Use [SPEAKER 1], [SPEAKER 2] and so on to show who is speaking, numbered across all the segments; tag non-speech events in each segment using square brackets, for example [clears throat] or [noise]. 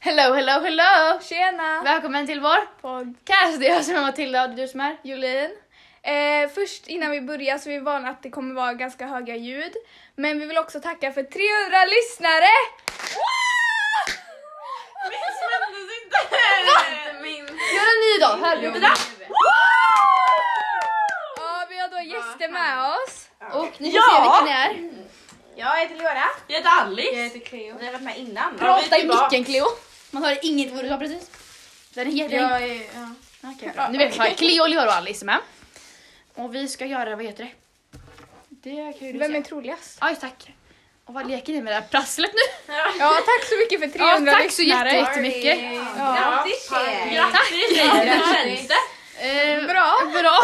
[SPEAKER 1] Hello, hello, hello!
[SPEAKER 2] Tjena!
[SPEAKER 1] Välkommen till vår
[SPEAKER 2] Podd.
[SPEAKER 1] cast! Det är jag som är Matilda och det är du som är Jolin.
[SPEAKER 2] Eh, först innan vi börjar så är vi vana att det kommer vara ganska höga ljud. Men vi vill också tacka för 300 lyssnare!
[SPEAKER 3] Missnämndes inte heller! Min...
[SPEAKER 1] Gör en ny dag, hör
[SPEAKER 3] Jo,
[SPEAKER 1] du?
[SPEAKER 2] Ja, vi har då gäster med oss.
[SPEAKER 1] Och ni får
[SPEAKER 3] Ja!
[SPEAKER 1] se vilka ni är.
[SPEAKER 4] Jag heter Leora.
[SPEAKER 3] Jag heter Alice.
[SPEAKER 4] Cleo. Ni har varit med innan.
[SPEAKER 3] Bra. vi är
[SPEAKER 1] Prata i
[SPEAKER 3] tillbaka.
[SPEAKER 1] micken Cleo. Man hörde inget vad du sa precis. Den är helt
[SPEAKER 4] Jag är... Ja.
[SPEAKER 1] Okej, bra. Nu vet vi. Cleo, Lior och Alice är med. Och vi ska göra, vad heter det? Det kan ju du
[SPEAKER 2] Vem är
[SPEAKER 1] säga.
[SPEAKER 2] troligast?
[SPEAKER 1] Aj, tack. Och vad leker ni med det här prasslet nu?
[SPEAKER 2] Ja, tack så mycket för 300
[SPEAKER 1] Ja, tack så
[SPEAKER 2] lyssnare.
[SPEAKER 1] jätte- jättemycket.
[SPEAKER 2] Ja.
[SPEAKER 4] Grattis tjejer!
[SPEAKER 3] Grattis tjejer, hur känns det?
[SPEAKER 1] Eh,
[SPEAKER 2] Bra.
[SPEAKER 1] Bra.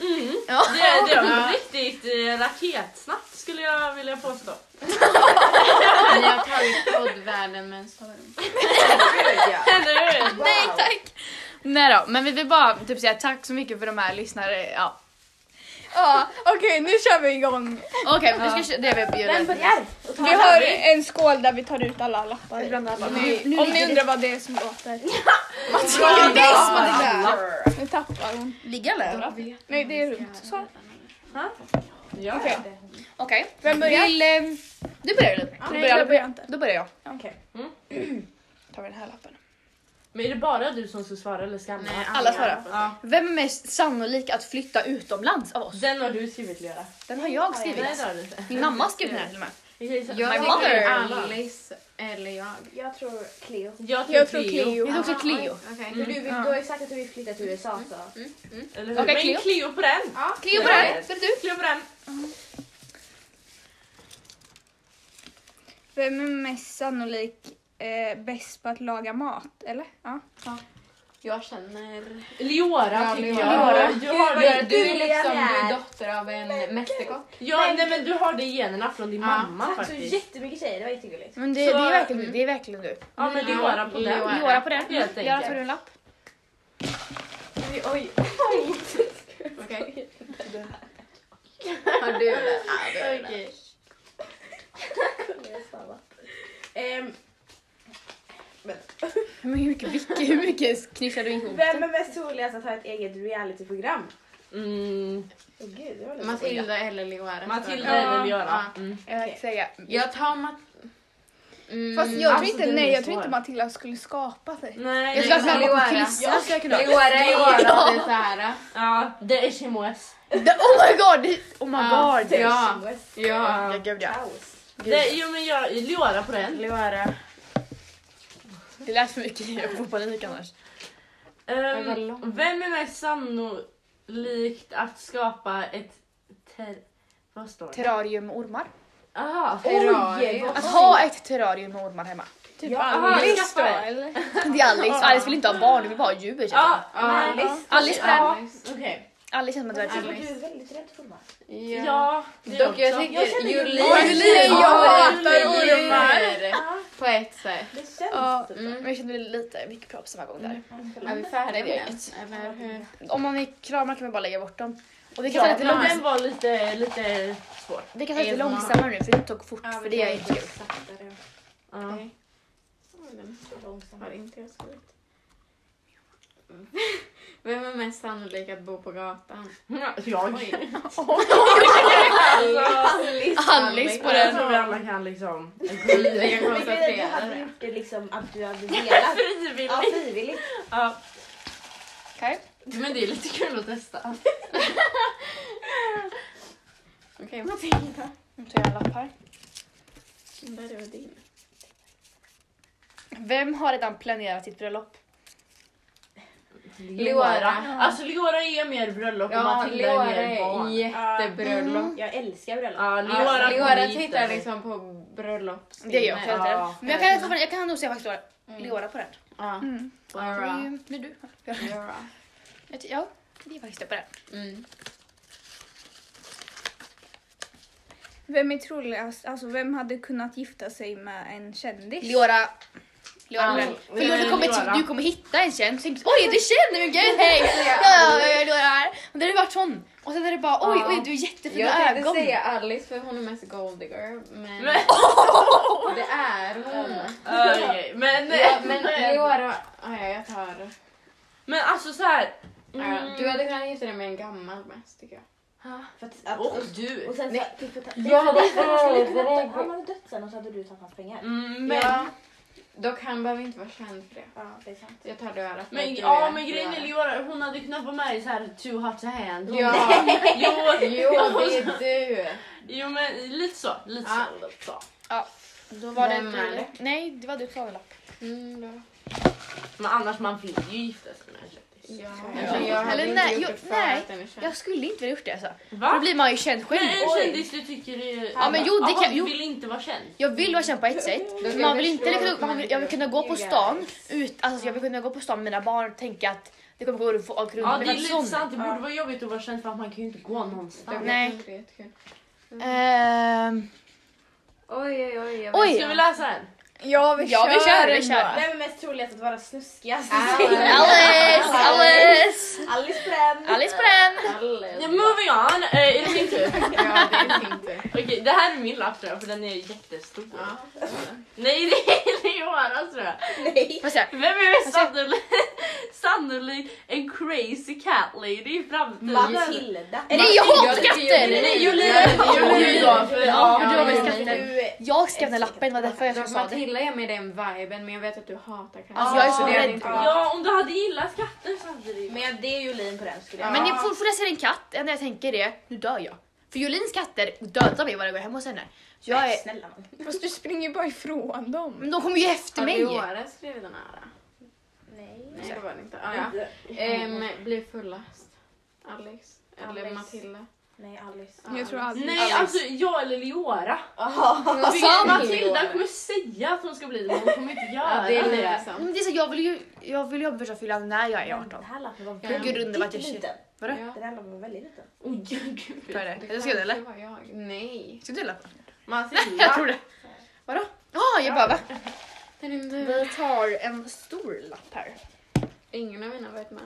[SPEAKER 3] Mm.
[SPEAKER 1] Ja.
[SPEAKER 3] Det, det var riktigt eh, raketsnabbt skulle jag vilja påstå.
[SPEAKER 4] Ni har tagit poddvärlden med en storm.
[SPEAKER 3] Eller hur?
[SPEAKER 1] Nej tack! Nej då, men vi vill bara typ säga tack så mycket för de här lyssnare. Ja.
[SPEAKER 2] Ja, Okej, nu kör vi igång.
[SPEAKER 1] Okej, vi ska köra det vi
[SPEAKER 4] Vem
[SPEAKER 1] bjuder.
[SPEAKER 4] börjar?
[SPEAKER 2] Vi har en skål där vi tar ut alla lappar. i.
[SPEAKER 1] alla.
[SPEAKER 2] Om ni- Om ni undrar vad det är som låter. Nu tappar hon.
[SPEAKER 1] Ligga eller?
[SPEAKER 2] Nej, det är runt. Så.
[SPEAKER 3] Ja.
[SPEAKER 2] Okej.
[SPEAKER 1] Okej.
[SPEAKER 2] Vem börjar?
[SPEAKER 1] Vill, eh, du börjar du. Då
[SPEAKER 2] Nej,
[SPEAKER 1] börjar
[SPEAKER 2] jag
[SPEAKER 1] jag.
[SPEAKER 2] börjar inte.
[SPEAKER 1] Då börjar jag. Mm.
[SPEAKER 2] Okej. [clears throat]
[SPEAKER 1] Tar vi den här lappen.
[SPEAKER 3] Men är det bara du som ska svara eller ska Anna?
[SPEAKER 1] Alla svarar.
[SPEAKER 3] Ja.
[SPEAKER 1] Vem är mest sannolik att flytta utomlands av oss?
[SPEAKER 3] Den har du skrivit Lera.
[SPEAKER 1] Den har jag
[SPEAKER 3] Nej
[SPEAKER 1] skrivit.
[SPEAKER 3] det har du inte.
[SPEAKER 1] Min mamma har skrivit den här till och med.
[SPEAKER 3] Jag
[SPEAKER 1] My
[SPEAKER 4] Jag
[SPEAKER 1] mother.
[SPEAKER 4] tycker Alice eller jag. Jag tror Cleo.
[SPEAKER 3] Jag tror,
[SPEAKER 2] Jag tror
[SPEAKER 3] Cleo.
[SPEAKER 2] Cleo.
[SPEAKER 1] Det är också Cleo.
[SPEAKER 4] Okej. För du, vill, du har ju sagt att du vill flytta till USA så.
[SPEAKER 3] Eller hur?
[SPEAKER 1] Okej,
[SPEAKER 3] Men
[SPEAKER 1] Cleo.
[SPEAKER 3] Cleo. på den.
[SPEAKER 4] Ja.
[SPEAKER 1] Cleo börjar. Ska det du?
[SPEAKER 3] Cleo på den.
[SPEAKER 2] Vem är mest sannolik eh, bäst på att laga mat? Eller? Ja.
[SPEAKER 4] Jag känner...
[SPEAKER 3] Leora tycker
[SPEAKER 4] Leora.
[SPEAKER 3] jag. Du har
[SPEAKER 4] Du,
[SPEAKER 3] det.
[SPEAKER 4] du är liksom
[SPEAKER 5] Leonard.
[SPEAKER 4] du är dotter av en mästerkock.
[SPEAKER 3] Ja, nej, men du har det i generna från din
[SPEAKER 4] Ja.
[SPEAKER 3] mamma
[SPEAKER 5] Tack så
[SPEAKER 3] faktiskt.
[SPEAKER 5] jättemycket tjejer, det var jättegulligt.
[SPEAKER 1] Men det,
[SPEAKER 3] Så-
[SPEAKER 1] det, är verkligen, det är verkligen du.
[SPEAKER 3] Ja men Leora på den.
[SPEAKER 4] Leora.
[SPEAKER 1] Göra på det.
[SPEAKER 3] Helt enkelt.
[SPEAKER 1] Göra tar du en lapp?
[SPEAKER 5] Oj, oj.
[SPEAKER 4] Okej. Har du det? [laughs]
[SPEAKER 5] Okej. Ehm,
[SPEAKER 1] [laughs] Men hur mycket, vilke- hur mycket knissar du ihop?
[SPEAKER 5] Vem är mest troligast att ha ett eget realityprogram?
[SPEAKER 3] Mm.
[SPEAKER 5] Åh gud, det var lite
[SPEAKER 4] Matilda eller Leora.
[SPEAKER 3] Matilda
[SPEAKER 4] Ja.
[SPEAKER 3] eller Leora.
[SPEAKER 4] Ja.
[SPEAKER 3] Mm.
[SPEAKER 1] Jag ska säga.
[SPEAKER 4] Jag tar Mat... Mm.
[SPEAKER 2] Fast jag
[SPEAKER 3] alltså,
[SPEAKER 2] tror
[SPEAKER 3] det
[SPEAKER 2] inte,
[SPEAKER 3] är
[SPEAKER 2] nej,
[SPEAKER 3] svårt.
[SPEAKER 2] jag tror inte Matilda skulle skapa sig.
[SPEAKER 3] Nej.
[SPEAKER 1] Jag ska
[SPEAKER 4] Nej,
[SPEAKER 1] snabba på
[SPEAKER 4] Leora.
[SPEAKER 1] Krista. ska jag kunna.
[SPEAKER 4] Leora är
[SPEAKER 1] Ja.
[SPEAKER 4] inte såhär.
[SPEAKER 3] Ja, det är Chimoes.
[SPEAKER 1] Oh my god! Oh my
[SPEAKER 4] Ja.
[SPEAKER 1] god!
[SPEAKER 4] Ja.
[SPEAKER 1] Ja,
[SPEAKER 4] Ja.
[SPEAKER 1] gud ja.
[SPEAKER 5] kaos.
[SPEAKER 3] Det, jo men jag, Leora på den.
[SPEAKER 1] Leora. Det lät för mycket, jag får panik annars.
[SPEAKER 3] Ehm,
[SPEAKER 4] var lång.
[SPEAKER 3] vem är mest sannolikt att skapa ett ter... Vad står det?
[SPEAKER 1] Terrarium med ormar.
[SPEAKER 3] Aha, Alltså,
[SPEAKER 4] Ferrari.
[SPEAKER 5] Oj,
[SPEAKER 1] Att ha ett terrarium med ormar hemma.
[SPEAKER 2] Typ
[SPEAKER 5] Ja,
[SPEAKER 2] Alice
[SPEAKER 3] skaffa
[SPEAKER 2] då,
[SPEAKER 3] det.
[SPEAKER 2] eller?
[SPEAKER 1] Det är Alice. Alice vill inte ha barn, hon vill bara ha djur. känns det
[SPEAKER 3] Ja,
[SPEAKER 1] som.
[SPEAKER 4] Ja.
[SPEAKER 3] nej.
[SPEAKER 1] Alice på den.
[SPEAKER 3] Ja, Okej.
[SPEAKER 1] Alice känns som ett
[SPEAKER 5] Matilda,
[SPEAKER 1] världshuvud.
[SPEAKER 5] du är väldigt rädd för ormar.
[SPEAKER 4] Ja.
[SPEAKER 3] Ja, det är
[SPEAKER 4] Dock jag
[SPEAKER 3] också.
[SPEAKER 5] Jag känner
[SPEAKER 4] tänker
[SPEAKER 5] ju-
[SPEAKER 4] Julin.
[SPEAKER 5] Oj,
[SPEAKER 2] Julin, jag hatar
[SPEAKER 4] På ett sätt.
[SPEAKER 5] Det känns
[SPEAKER 2] Ja.
[SPEAKER 5] typ
[SPEAKER 4] Mm.
[SPEAKER 5] så.
[SPEAKER 1] Men jag kände lite mycket prat på samma gång där.
[SPEAKER 4] Är vi
[SPEAKER 1] Nej,
[SPEAKER 4] färdiga
[SPEAKER 1] vi
[SPEAKER 4] med
[SPEAKER 1] har inget.
[SPEAKER 4] det? Eller hur?
[SPEAKER 1] Om man är klar man kan man bara lägga bort dem. Och vi kan ta
[SPEAKER 3] Ja,
[SPEAKER 1] lite,
[SPEAKER 3] men
[SPEAKER 1] långs
[SPEAKER 3] den var lite, lite svår.
[SPEAKER 1] vi kan ta lite
[SPEAKER 4] Elma.
[SPEAKER 1] långsammare nu för det tog fort.
[SPEAKER 4] Ja,
[SPEAKER 1] För det är inte kul.
[SPEAKER 4] saktare.
[SPEAKER 3] Ja.
[SPEAKER 4] Nej. Oj, den har inte jag skrivit. Vem är mest sannolik att bo på gatan?
[SPEAKER 3] Ja, Jag.
[SPEAKER 4] Oj.
[SPEAKER 3] Alltså,
[SPEAKER 1] Alice på
[SPEAKER 3] jag
[SPEAKER 1] den.
[SPEAKER 3] tror vi alla kan liksom...
[SPEAKER 4] Jag kan
[SPEAKER 5] Men grejen är att du hade
[SPEAKER 4] konstatera
[SPEAKER 5] gjort det liksom att du hade velat. Ja,
[SPEAKER 3] Frivilligt.
[SPEAKER 5] frivilligt.
[SPEAKER 3] Ja.
[SPEAKER 1] Okej.
[SPEAKER 4] det. Men det är lite kul att testa. Okej, Matilda.
[SPEAKER 1] Nu tar jag en lapp här.
[SPEAKER 4] Den där var din.
[SPEAKER 1] Vem har redan planerat sitt bröllop?
[SPEAKER 4] Leora.
[SPEAKER 3] Alltså Leora är mer bröllop och
[SPEAKER 4] Ja,
[SPEAKER 3] Matilda
[SPEAKER 4] Leora
[SPEAKER 3] är mer
[SPEAKER 4] är
[SPEAKER 3] barn.
[SPEAKER 4] jättebröllop.
[SPEAKER 5] Jag älskar bröllop.
[SPEAKER 3] Ja,
[SPEAKER 4] Ja,
[SPEAKER 3] Leora, kom
[SPEAKER 4] Leora
[SPEAKER 3] hit,
[SPEAKER 4] tittar
[SPEAKER 3] eller?
[SPEAKER 4] liksom på bröllop.
[SPEAKER 1] Det gör jag. för jag vet
[SPEAKER 3] Ja.
[SPEAKER 1] inte. Men jag kan, fortfarande- jag kan nog säga faktiskt Leora- Leora på den.
[SPEAKER 4] Ja.
[SPEAKER 2] Mm.
[SPEAKER 1] Det är
[SPEAKER 4] Leora.
[SPEAKER 1] ju- det är du.
[SPEAKER 4] Leora.
[SPEAKER 1] Jag ty- Ja, det är faktiskt det på den.
[SPEAKER 4] Mm.
[SPEAKER 2] Vem är troligast? Alltså vem hade kunnat gifta sig med en kändis?
[SPEAKER 1] Leora. Leonardo. För
[SPEAKER 3] Ja.
[SPEAKER 1] du,
[SPEAKER 3] Mm.
[SPEAKER 1] kommer, typ- du kommer hitta en känd och tänker så, oj du är känd, men gud hej! Ja, ja, ja, du är här. Och då har det varit sån. Och sen är det bara oj,
[SPEAKER 4] Ja.
[SPEAKER 1] oj du är jättefina
[SPEAKER 4] Jag tänkte
[SPEAKER 1] ögon.
[SPEAKER 4] säga Alice för hon är mest golddigger men det är hon. [laughs]
[SPEAKER 3] Okej, men,
[SPEAKER 4] Ja, men Leora, ah, ja, jag tar.
[SPEAKER 3] men alltså så här.
[SPEAKER 5] Mm.
[SPEAKER 4] Ja, Mm. du hade kunnat gifta dig med en gammal mest tycker jag.
[SPEAKER 5] För att, att,
[SPEAKER 3] Och du.
[SPEAKER 5] och sen så,
[SPEAKER 4] Nej.
[SPEAKER 5] fick vi ta,
[SPEAKER 4] Ja,
[SPEAKER 5] han
[SPEAKER 4] det-
[SPEAKER 5] skulle kunna dö- han hade dött sen och så hade du tagit hans pengar.
[SPEAKER 3] Mm, men,
[SPEAKER 4] Men, Dock han behöver inte vara känd för det.
[SPEAKER 5] Ja, det är sant.
[SPEAKER 4] Jag tar Leora. för
[SPEAKER 3] men,
[SPEAKER 4] att du
[SPEAKER 3] ja,
[SPEAKER 4] är-
[SPEAKER 3] men grejen är
[SPEAKER 4] Leora.
[SPEAKER 3] Leora, hon hade kunnat vara med i så här too hot to hand. Hon,
[SPEAKER 4] Ja,
[SPEAKER 3] [laughs] jo,
[SPEAKER 4] jo det är du.
[SPEAKER 3] jo, men lite så. Lite
[SPEAKER 4] Ja.
[SPEAKER 3] så, lite så.
[SPEAKER 1] Då var det
[SPEAKER 4] Vem
[SPEAKER 1] inte
[SPEAKER 4] är det?
[SPEAKER 1] Nej, det var du som lapp.
[SPEAKER 4] Mm, då.
[SPEAKER 3] Men annars man vill ju gifta sig med en kändis.
[SPEAKER 4] Ja.
[SPEAKER 1] Ja.
[SPEAKER 4] Men jag hade
[SPEAKER 1] Eller
[SPEAKER 4] inte
[SPEAKER 1] nej,
[SPEAKER 4] gjort
[SPEAKER 1] jag-
[SPEAKER 4] det för
[SPEAKER 1] nej.
[SPEAKER 4] att den är känd.
[SPEAKER 1] Jag skulle inte vilja gjort det alltså. Då
[SPEAKER 3] Va?
[SPEAKER 1] blir man ju känd
[SPEAKER 3] Men
[SPEAKER 1] själv.
[SPEAKER 3] en kändis du tycker är...
[SPEAKER 1] Ja, men jo, det
[SPEAKER 3] Jaha,
[SPEAKER 1] kan-
[SPEAKER 3] du
[SPEAKER 1] jo.
[SPEAKER 3] vill inte vara känd.
[SPEAKER 1] Jag vill vara känd på ett sätt.
[SPEAKER 5] Mm.
[SPEAKER 4] Då ska
[SPEAKER 1] Man
[SPEAKER 4] jag
[SPEAKER 1] vill inte,
[SPEAKER 4] förstå
[SPEAKER 1] liksom-
[SPEAKER 4] att
[SPEAKER 1] man
[SPEAKER 4] man
[SPEAKER 1] vill, jag vill kunna gå på
[SPEAKER 4] gillar
[SPEAKER 1] stan
[SPEAKER 4] Alice.
[SPEAKER 1] ut, alltså jag vill kunna gå på stan med mina barn och tänka att det kommer gå runt folk runt
[SPEAKER 3] Ja,
[SPEAKER 1] mig,
[SPEAKER 3] det
[SPEAKER 1] för
[SPEAKER 3] är
[SPEAKER 1] att
[SPEAKER 3] lite
[SPEAKER 1] sån-
[SPEAKER 3] sant. Det borde vara jobbigt att vara känd för att man kan ju inte gå någonstans.
[SPEAKER 1] Mm, Nej.
[SPEAKER 4] Det är jättekul.
[SPEAKER 1] Ehm,
[SPEAKER 4] Oj, oj, oj. jag
[SPEAKER 1] Oj.
[SPEAKER 4] vet
[SPEAKER 3] Ska vi
[SPEAKER 4] inte.
[SPEAKER 3] läsa en?
[SPEAKER 2] Ja vi
[SPEAKER 1] Ja, vi kör, vi
[SPEAKER 2] ändå.
[SPEAKER 1] kör.
[SPEAKER 5] Vem är mest troligast att vara snuskigast? [laughs]
[SPEAKER 4] Alice.
[SPEAKER 1] Alice, Alice,
[SPEAKER 5] Alice Brem!
[SPEAKER 1] Alice på den!
[SPEAKER 4] Alice.
[SPEAKER 3] Ja, moving on! Eh, är det min tur? [laughs]
[SPEAKER 4] Ja, det är min tur.
[SPEAKER 3] Okej, det här är min lapp tror jag för den är jättestor.
[SPEAKER 4] Ja.
[SPEAKER 3] Nej, det är [laughs] Leoras tror jag.
[SPEAKER 5] [laughs] Nej!
[SPEAKER 1] Får jag se.
[SPEAKER 3] Vem är mest [laughs] sannolik, sannolik en crazy cat lady i framtiden?
[SPEAKER 5] Matilda!
[SPEAKER 1] Nej jag hatar
[SPEAKER 4] tycker
[SPEAKER 1] katter!
[SPEAKER 4] Julie-
[SPEAKER 3] Nej, Julia! Julia!
[SPEAKER 4] Julia.
[SPEAKER 3] för-
[SPEAKER 1] Ja,
[SPEAKER 3] ja,
[SPEAKER 1] för du har väl
[SPEAKER 4] Julia.
[SPEAKER 1] skatten.
[SPEAKER 5] Du,
[SPEAKER 1] Jag skrev den lappen, det var därför jag
[SPEAKER 4] Då,
[SPEAKER 1] sa det.
[SPEAKER 4] Matilda ger mig den viben men jag vet att du hatar katter.
[SPEAKER 1] Alltså, jag är så
[SPEAKER 4] det hade
[SPEAKER 1] rädd.
[SPEAKER 4] inte gått.
[SPEAKER 3] Ja, om du hade gillat katter så hade det ju...
[SPEAKER 5] men jag- det är Jolin på den skulle jag
[SPEAKER 1] Men ni får, får jag se en katt, när jag tänker det, nu dör jag. För Jolins katter dödar mig varje gång jag är hemma hos henne. Så jag är,
[SPEAKER 5] Nej, Snälla nån.
[SPEAKER 2] Fast du springer bara ifrån dem.
[SPEAKER 1] men de kommer ju efter
[SPEAKER 4] Har
[SPEAKER 1] mig.
[SPEAKER 4] Leora skrivit den här? då?
[SPEAKER 5] Nej.
[SPEAKER 4] Nej det var det inte. Ah, ja.
[SPEAKER 1] Mm.
[SPEAKER 4] Ehm, blir fullast? Alex? Eller
[SPEAKER 5] Alex.
[SPEAKER 4] Matilda?
[SPEAKER 5] Nej, Alice.
[SPEAKER 4] Ja,
[SPEAKER 2] Jag tror aldrig.
[SPEAKER 3] Nej, alltså jag eller Leora.
[SPEAKER 4] Vad
[SPEAKER 3] Vilket Alltså, Matilda kommer säga att hon ska bli det, men hon kommer inte
[SPEAKER 4] Ja,
[SPEAKER 3] göra
[SPEAKER 4] det är
[SPEAKER 3] det.
[SPEAKER 4] lite sant.
[SPEAKER 1] Men det är så, jag vill ju jag vill ju ha första fyllan när jag är 18.
[SPEAKER 5] Den här lappen var
[SPEAKER 4] Ja.
[SPEAKER 5] väldigt
[SPEAKER 1] Gud, undrar vart jag kö-
[SPEAKER 5] liten.
[SPEAKER 1] Vadå?
[SPEAKER 4] Ja.
[SPEAKER 5] Den här lappen var väldigt liten.
[SPEAKER 3] [laughs] Oj, gud.
[SPEAKER 1] Tror jag det? Eller
[SPEAKER 4] kanske
[SPEAKER 1] ska du eller?
[SPEAKER 4] var jag. Nej.
[SPEAKER 1] Ska du eller? Jag
[SPEAKER 3] Matilda.
[SPEAKER 1] tror det. Vadå? Ah, jag bara va?
[SPEAKER 4] Den är inte...
[SPEAKER 1] Vi tar en stor lapp här.
[SPEAKER 4] Ingen av mina har varit med.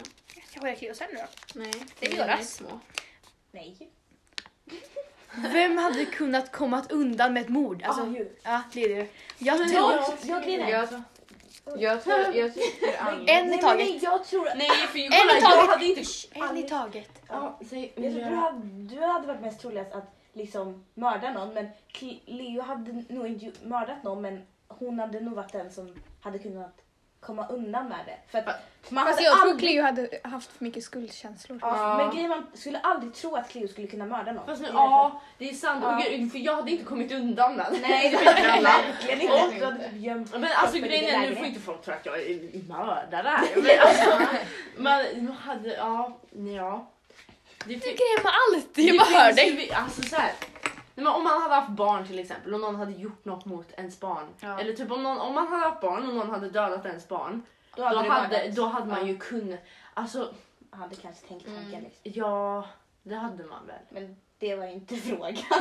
[SPEAKER 1] Kanske jag kliar sen nu då.
[SPEAKER 4] Nej.
[SPEAKER 1] Det är
[SPEAKER 4] mina
[SPEAKER 1] Leoras.
[SPEAKER 4] små.
[SPEAKER 5] Nej.
[SPEAKER 1] Vem hade kunnat komma undan med ett mord? Alltså,
[SPEAKER 5] Ah, ju.
[SPEAKER 1] ja, det är det. Jag
[SPEAKER 3] Men
[SPEAKER 1] tror...
[SPEAKER 3] jag-
[SPEAKER 5] Jag grejen är-
[SPEAKER 4] Jag, jag, tror, jag tycker
[SPEAKER 5] [laughs]
[SPEAKER 4] Alice.
[SPEAKER 1] En i
[SPEAKER 5] Nej, men
[SPEAKER 1] taget.
[SPEAKER 5] Nej, jag tror...
[SPEAKER 3] Nej, för jag,
[SPEAKER 1] En i
[SPEAKER 3] jag
[SPEAKER 1] taget.
[SPEAKER 3] hade inte...
[SPEAKER 1] En i taget.
[SPEAKER 5] Ja,
[SPEAKER 3] säg
[SPEAKER 5] Jag tror du, hade, du hade varit mest troligast att liksom mörda någon men Cl- Leo hade nog inte ju- mördat någon men hon hade nog varit den som hade kunnat komma undan med det. För att man
[SPEAKER 2] Fast
[SPEAKER 5] hade
[SPEAKER 2] jag tror
[SPEAKER 5] aldrig,
[SPEAKER 2] Cleo hade haft för mycket skuldkänslor.
[SPEAKER 5] ja,
[SPEAKER 4] Ja.
[SPEAKER 5] men grejen man skulle aldrig tro att Cleo skulle kunna mörda någon.
[SPEAKER 3] Fast nu,
[SPEAKER 5] Det är
[SPEAKER 3] ja, det är sant.
[SPEAKER 5] Ja.
[SPEAKER 3] Och gud, för jag hade inte kommit undan med det.
[SPEAKER 5] därför.
[SPEAKER 3] [laughs]
[SPEAKER 5] Nej, det är verkligen inte.
[SPEAKER 4] Och-
[SPEAKER 5] Du hade typ gömt
[SPEAKER 3] Men alltså
[SPEAKER 5] kroppen i
[SPEAKER 3] grejen är,
[SPEAKER 5] din
[SPEAKER 3] nu får
[SPEAKER 5] lägenhet.
[SPEAKER 3] inte folk tro att jag är mördare här. Men alltså, man, man hade, ja, ja. Det
[SPEAKER 1] Du
[SPEAKER 3] fin-
[SPEAKER 1] grejade alltid,
[SPEAKER 3] det
[SPEAKER 1] jag bara hör
[SPEAKER 3] finns
[SPEAKER 1] dig.
[SPEAKER 3] ju vi- Alltså så här. Nej, men om man hade haft barn till exempel och någon hade gjort något mot ens barn.
[SPEAKER 1] Ja.
[SPEAKER 3] Eller typ om, någon, om man hade haft barn och någon hade dödat ens barn.
[SPEAKER 5] Då
[SPEAKER 3] Då
[SPEAKER 5] hade, du
[SPEAKER 3] hade,
[SPEAKER 5] mördat.
[SPEAKER 3] då hade man
[SPEAKER 5] Ja.
[SPEAKER 3] ju kunnat, alltså
[SPEAKER 5] hade kanske tänkt tanken
[SPEAKER 4] Mm.
[SPEAKER 5] liksom.
[SPEAKER 3] ja, det hade
[SPEAKER 4] [laughs]
[SPEAKER 3] man väl.
[SPEAKER 5] Men det var ju inte [laughs] frågan.
[SPEAKER 3] Ja,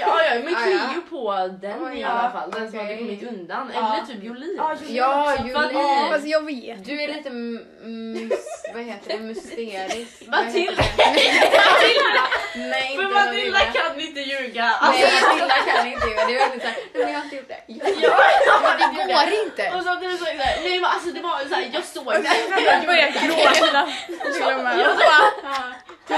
[SPEAKER 3] ja, ja men
[SPEAKER 4] Ah,
[SPEAKER 3] Cleo
[SPEAKER 4] ja.
[SPEAKER 3] på den
[SPEAKER 4] Oj,
[SPEAKER 3] i
[SPEAKER 4] ja.
[SPEAKER 3] alla fall. Den som
[SPEAKER 4] Okej.
[SPEAKER 3] hade kommit undan.
[SPEAKER 5] Ja.
[SPEAKER 3] Eller typ Jolin.
[SPEAKER 5] Ja, Jolin
[SPEAKER 4] Ja,
[SPEAKER 5] också.
[SPEAKER 4] Jolin.
[SPEAKER 2] Ja,
[SPEAKER 1] Mm.
[SPEAKER 2] Fast jag vet.
[SPEAKER 4] Du är lite, mm, vad heter det, mysterisk.
[SPEAKER 3] Matilda.
[SPEAKER 4] Vad heter det? Nej, inte
[SPEAKER 3] För Matilda
[SPEAKER 4] Matilda.
[SPEAKER 3] kan inte ljuga.
[SPEAKER 4] [laughs]
[SPEAKER 3] Alltså,
[SPEAKER 4] Nej, Matilda kan inte göra det. Det är väldigt såhär, nej men jag har inte gjort det.
[SPEAKER 1] Det går inte.
[SPEAKER 3] och samtidigt så är det såhär, nej men alltså det var såhär, jag såg
[SPEAKER 4] Alltså,
[SPEAKER 3] det.
[SPEAKER 2] Jag
[SPEAKER 3] [laughs]
[SPEAKER 2] börjar gråta. Till och med.
[SPEAKER 4] Och så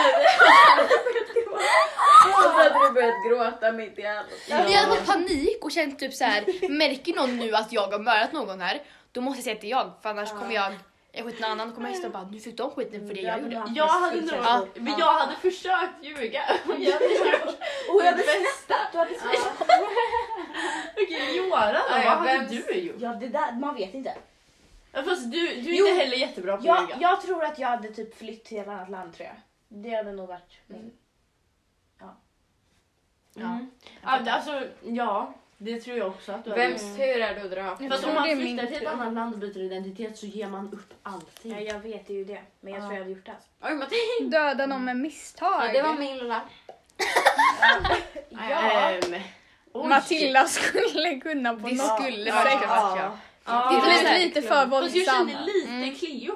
[SPEAKER 4] Alltså, hade du börjat gråta mitt i allt.
[SPEAKER 1] Men jag hade fått panik och känt typ så här. märker någon nu att jag har mördat någon här, då måste jag säga att det är jag för annars kommer jag, jag skjuter någon annan och kommer hästen och bara nu fick de skiten för det jag gjorde.
[SPEAKER 3] Jag hade nog,
[SPEAKER 1] Ja.
[SPEAKER 3] men jag hade försökt ljuga. Jag hade gjort
[SPEAKER 5] Och jag hade
[SPEAKER 3] det bästa.
[SPEAKER 5] Du hade
[SPEAKER 3] [laughs] Okej Joran då,
[SPEAKER 4] Ja,
[SPEAKER 3] vad
[SPEAKER 4] ja,
[SPEAKER 3] hade
[SPEAKER 4] vems-
[SPEAKER 3] du gjort?
[SPEAKER 5] Ja, det där, man vet inte.
[SPEAKER 3] Ja, Fast du, du är
[SPEAKER 5] Jo.
[SPEAKER 3] inte heller jättebra på att
[SPEAKER 5] Jag,
[SPEAKER 3] ljuga.
[SPEAKER 5] jag tror att jag hade typ flytt till ett annat land tror jag. Det hade nog varit min.
[SPEAKER 3] Mm. Ja, det- alltså ja, det tror jag också att du hade gjort.
[SPEAKER 4] Vems tur är det att dra?
[SPEAKER 2] Jag
[SPEAKER 3] Fast
[SPEAKER 2] tror
[SPEAKER 3] om man
[SPEAKER 2] det är min
[SPEAKER 3] flyttar till ett
[SPEAKER 2] tur.
[SPEAKER 3] annat land och byter identitet så ger man upp
[SPEAKER 5] Ja,
[SPEAKER 3] allting.
[SPEAKER 5] jag vet ju det. Men jag tror jag hade gjort det. Alltså.
[SPEAKER 4] Oj Matilda,
[SPEAKER 2] Döda någon med misstag.
[SPEAKER 4] det var min lilla.
[SPEAKER 5] Ja.
[SPEAKER 3] Ehm, Oj.
[SPEAKER 2] Matilda skulle kunna på
[SPEAKER 1] Det
[SPEAKER 2] något
[SPEAKER 1] skulle
[SPEAKER 2] sätt.
[SPEAKER 1] verkligen varit jag.
[SPEAKER 3] Ja.
[SPEAKER 2] Det blev
[SPEAKER 1] verkligen.
[SPEAKER 2] lite för
[SPEAKER 4] Fast du
[SPEAKER 2] våldsamt.
[SPEAKER 4] kände lite
[SPEAKER 1] Mm.
[SPEAKER 4] Cleo.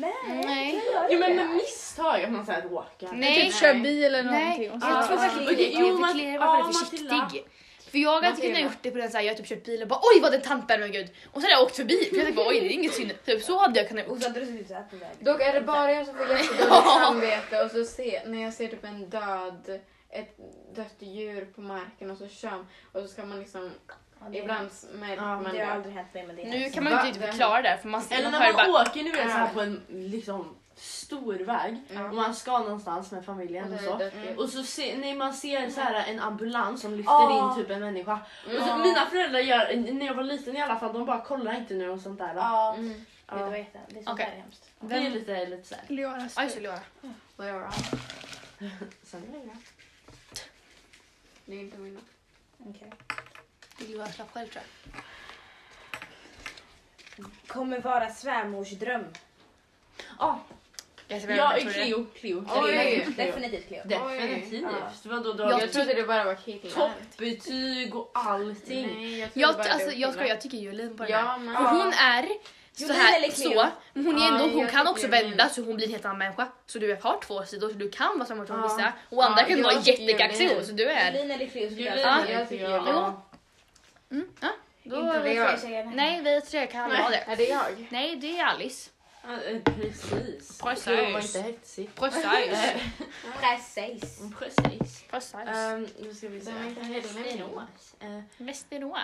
[SPEAKER 5] Nej,
[SPEAKER 1] Nej.
[SPEAKER 5] jag gör
[SPEAKER 3] Jo men
[SPEAKER 5] inte.
[SPEAKER 3] med misstag att man såhär råkar.
[SPEAKER 1] Nej.
[SPEAKER 2] Typ kör bil eller
[SPEAKER 1] Nej,
[SPEAKER 2] någonting. Och så.
[SPEAKER 1] jag tror
[SPEAKER 3] Ja,
[SPEAKER 1] faktiskt
[SPEAKER 3] ja.
[SPEAKER 1] inte det.
[SPEAKER 3] Jo,
[SPEAKER 1] Jag
[SPEAKER 3] Mat-
[SPEAKER 1] förklarar varför
[SPEAKER 3] ja,
[SPEAKER 1] du är försiktig.
[SPEAKER 3] Matilda.
[SPEAKER 1] För jag hade
[SPEAKER 4] Matilda.
[SPEAKER 1] kunnat gjort det på den såhär, jag har typ kört bilen och bara oj vad den tantar men gud. Och så hade jag åkt förbi för jag tänkte bara oj det är inget synd. Typ så hade jag kunnat
[SPEAKER 5] Och
[SPEAKER 1] gjort.
[SPEAKER 5] så hade du suttit såhär på vägen.
[SPEAKER 4] Dock är det bara jag som får jättedåligt samvete och så ser, när jag ser typ en död, ett dött djur på marken och så kör och så ska man liksom,
[SPEAKER 5] Ja, det-
[SPEAKER 4] ibland smälter
[SPEAKER 3] Ja,
[SPEAKER 4] man
[SPEAKER 5] Det har
[SPEAKER 4] det.
[SPEAKER 5] aldrig hänt mig men det är
[SPEAKER 1] Nu kan man ju
[SPEAKER 4] Va?
[SPEAKER 1] inte riktigt förklara det för man,
[SPEAKER 3] Eller
[SPEAKER 1] man
[SPEAKER 3] när
[SPEAKER 1] hör ju
[SPEAKER 3] man
[SPEAKER 1] bara
[SPEAKER 3] åker nu är det så
[SPEAKER 4] Ah.
[SPEAKER 3] här på en liksom stor väg
[SPEAKER 4] Ja.
[SPEAKER 3] och man ska någonstans med familjen och
[SPEAKER 4] Och så är
[SPEAKER 3] så.
[SPEAKER 4] Mm. det dött djur.
[SPEAKER 3] Och så se, när man ser så här en ambulans som lyfter
[SPEAKER 5] Ah.
[SPEAKER 3] in typ en människa. Och så,
[SPEAKER 4] Mm.
[SPEAKER 3] mina föräldrar gör, när jag var liten i alla fall, de bara kollar inte nu och sånt där. Ja.
[SPEAKER 5] Ja,
[SPEAKER 4] Mm.
[SPEAKER 5] det var jätte... Det är sånt
[SPEAKER 1] Okej.
[SPEAKER 5] där är hemskt.
[SPEAKER 3] Det är lite, lite så här.
[SPEAKER 2] Leonas
[SPEAKER 1] Aj så Leona.
[SPEAKER 4] Och jag bara,
[SPEAKER 3] Sen är det bra.
[SPEAKER 4] det är inte mina.
[SPEAKER 5] Okej.
[SPEAKER 1] Det är Leonas lapp själv tror jag.
[SPEAKER 5] Kommer vara svärmorsdröm.
[SPEAKER 3] Ah,
[SPEAKER 1] Jag ser vem
[SPEAKER 3] jag
[SPEAKER 1] jag
[SPEAKER 3] är
[SPEAKER 1] tror det.
[SPEAKER 3] Cleo. Cleo.
[SPEAKER 4] Oj.
[SPEAKER 3] Cleo.
[SPEAKER 5] Definitivt Cleo.
[SPEAKER 3] Definitivt.
[SPEAKER 5] Ja.
[SPEAKER 3] Vadå, du har
[SPEAKER 4] Jag trodde det bara var killar.
[SPEAKER 3] toppbetyg och allting.
[SPEAKER 4] Nej, jag trodde
[SPEAKER 1] Jag,
[SPEAKER 4] bara
[SPEAKER 1] alltså,
[SPEAKER 4] det var
[SPEAKER 1] jag ska,
[SPEAKER 4] killar.
[SPEAKER 1] jag tycker Jolin på den här.
[SPEAKER 4] Ja, men.
[SPEAKER 1] För hon är så
[SPEAKER 5] Jolin
[SPEAKER 1] här
[SPEAKER 5] eller Cleo?
[SPEAKER 1] så, men hon, är
[SPEAKER 4] Ja,
[SPEAKER 1] ändå, hon
[SPEAKER 4] jag
[SPEAKER 1] kan
[SPEAKER 4] tycker
[SPEAKER 1] också
[SPEAKER 4] Jolin.
[SPEAKER 1] vända så hon blir en helt annan människa. Så du har två sidor så du kan vara samma som
[SPEAKER 3] Ja.
[SPEAKER 1] vissa och andra
[SPEAKER 4] Ja,
[SPEAKER 1] kan du
[SPEAKER 4] jag
[SPEAKER 1] vara
[SPEAKER 4] tycker
[SPEAKER 1] jättekaxig
[SPEAKER 4] Jolin.
[SPEAKER 1] och så du är.
[SPEAKER 5] Julin eller Cleo skulle jag
[SPEAKER 3] Julin,
[SPEAKER 5] säga.
[SPEAKER 4] jag tycker jag.
[SPEAKER 1] Jo. Mm, ja. Då
[SPEAKER 5] Inte
[SPEAKER 1] är vi
[SPEAKER 5] vi
[SPEAKER 1] tre.
[SPEAKER 5] tre tjejerna.
[SPEAKER 1] Nej vi tre kan vara det.
[SPEAKER 4] Är det jag?
[SPEAKER 1] Nej det är Alice.
[SPEAKER 3] Ja, eh, Precis.
[SPEAKER 1] Precis.
[SPEAKER 3] Cleo var inte hetsig.
[SPEAKER 1] Precis. [laughs]
[SPEAKER 5] Precis.
[SPEAKER 3] Precis.
[SPEAKER 1] Precis.
[SPEAKER 3] Um, nu ska vi se.
[SPEAKER 4] Den var inte hetsig.
[SPEAKER 3] Västerås. Eh,
[SPEAKER 1] Västerås.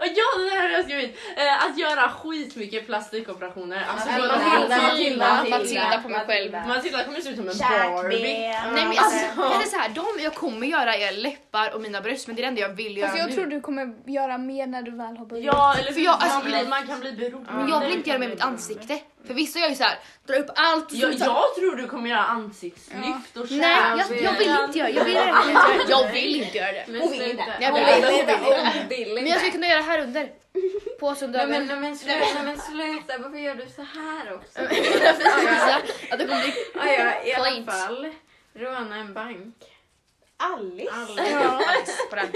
[SPEAKER 3] Och ja, det här har jag skrivit. Eh, att göra skitmycket plastikoperationer. Alltså,
[SPEAKER 5] Ja,
[SPEAKER 3] både
[SPEAKER 5] Matilda,
[SPEAKER 3] hon och killar.
[SPEAKER 1] Matilda, Matilda på mig själv.
[SPEAKER 5] Matilda.
[SPEAKER 3] Matilda kommer se ut som en
[SPEAKER 5] Kärt
[SPEAKER 3] Barbie.
[SPEAKER 5] ben.
[SPEAKER 1] Nej men alltså, jag, är så här, de jag kommer göra är läppar och mina bröst men det är det enda jag vill göra
[SPEAKER 2] Fast jag
[SPEAKER 1] nu.
[SPEAKER 2] tror du kommer göra mer när du väl har börjat.
[SPEAKER 3] Ja, eller
[SPEAKER 1] För jag-
[SPEAKER 3] man,
[SPEAKER 1] alltså-
[SPEAKER 3] blir, man kan bli beroende.
[SPEAKER 1] Men jag vill inte göra med mitt ansikte. För vissa gör ju så här, drar upp allt och så
[SPEAKER 3] Jag,
[SPEAKER 1] så här-
[SPEAKER 3] jag tror du kommer göra ansiktslyft och
[SPEAKER 1] Nej,
[SPEAKER 3] skär.
[SPEAKER 1] jag, jag vill inte göra det. Jag vill verkligen inte göra det. [laughs] Jag vill inte göra det.
[SPEAKER 4] Men
[SPEAKER 5] Hon vill inte.
[SPEAKER 4] sluta.
[SPEAKER 1] Nej,
[SPEAKER 4] Hon
[SPEAKER 1] men-
[SPEAKER 4] vill inte. Hon vill
[SPEAKER 1] Men jag skulle
[SPEAKER 4] inte.
[SPEAKER 1] kunna göra här under. På
[SPEAKER 4] Nej, men,
[SPEAKER 1] söndagen.
[SPEAKER 4] nej, men sluta, nej, men sluta, varför gör du så här också?
[SPEAKER 1] [laughs] Att det kommer bli...
[SPEAKER 4] Ja, ja, i alla
[SPEAKER 1] Point.
[SPEAKER 4] fall. Råna en bank.
[SPEAKER 5] Alice.
[SPEAKER 4] Alla.
[SPEAKER 1] Nice på den.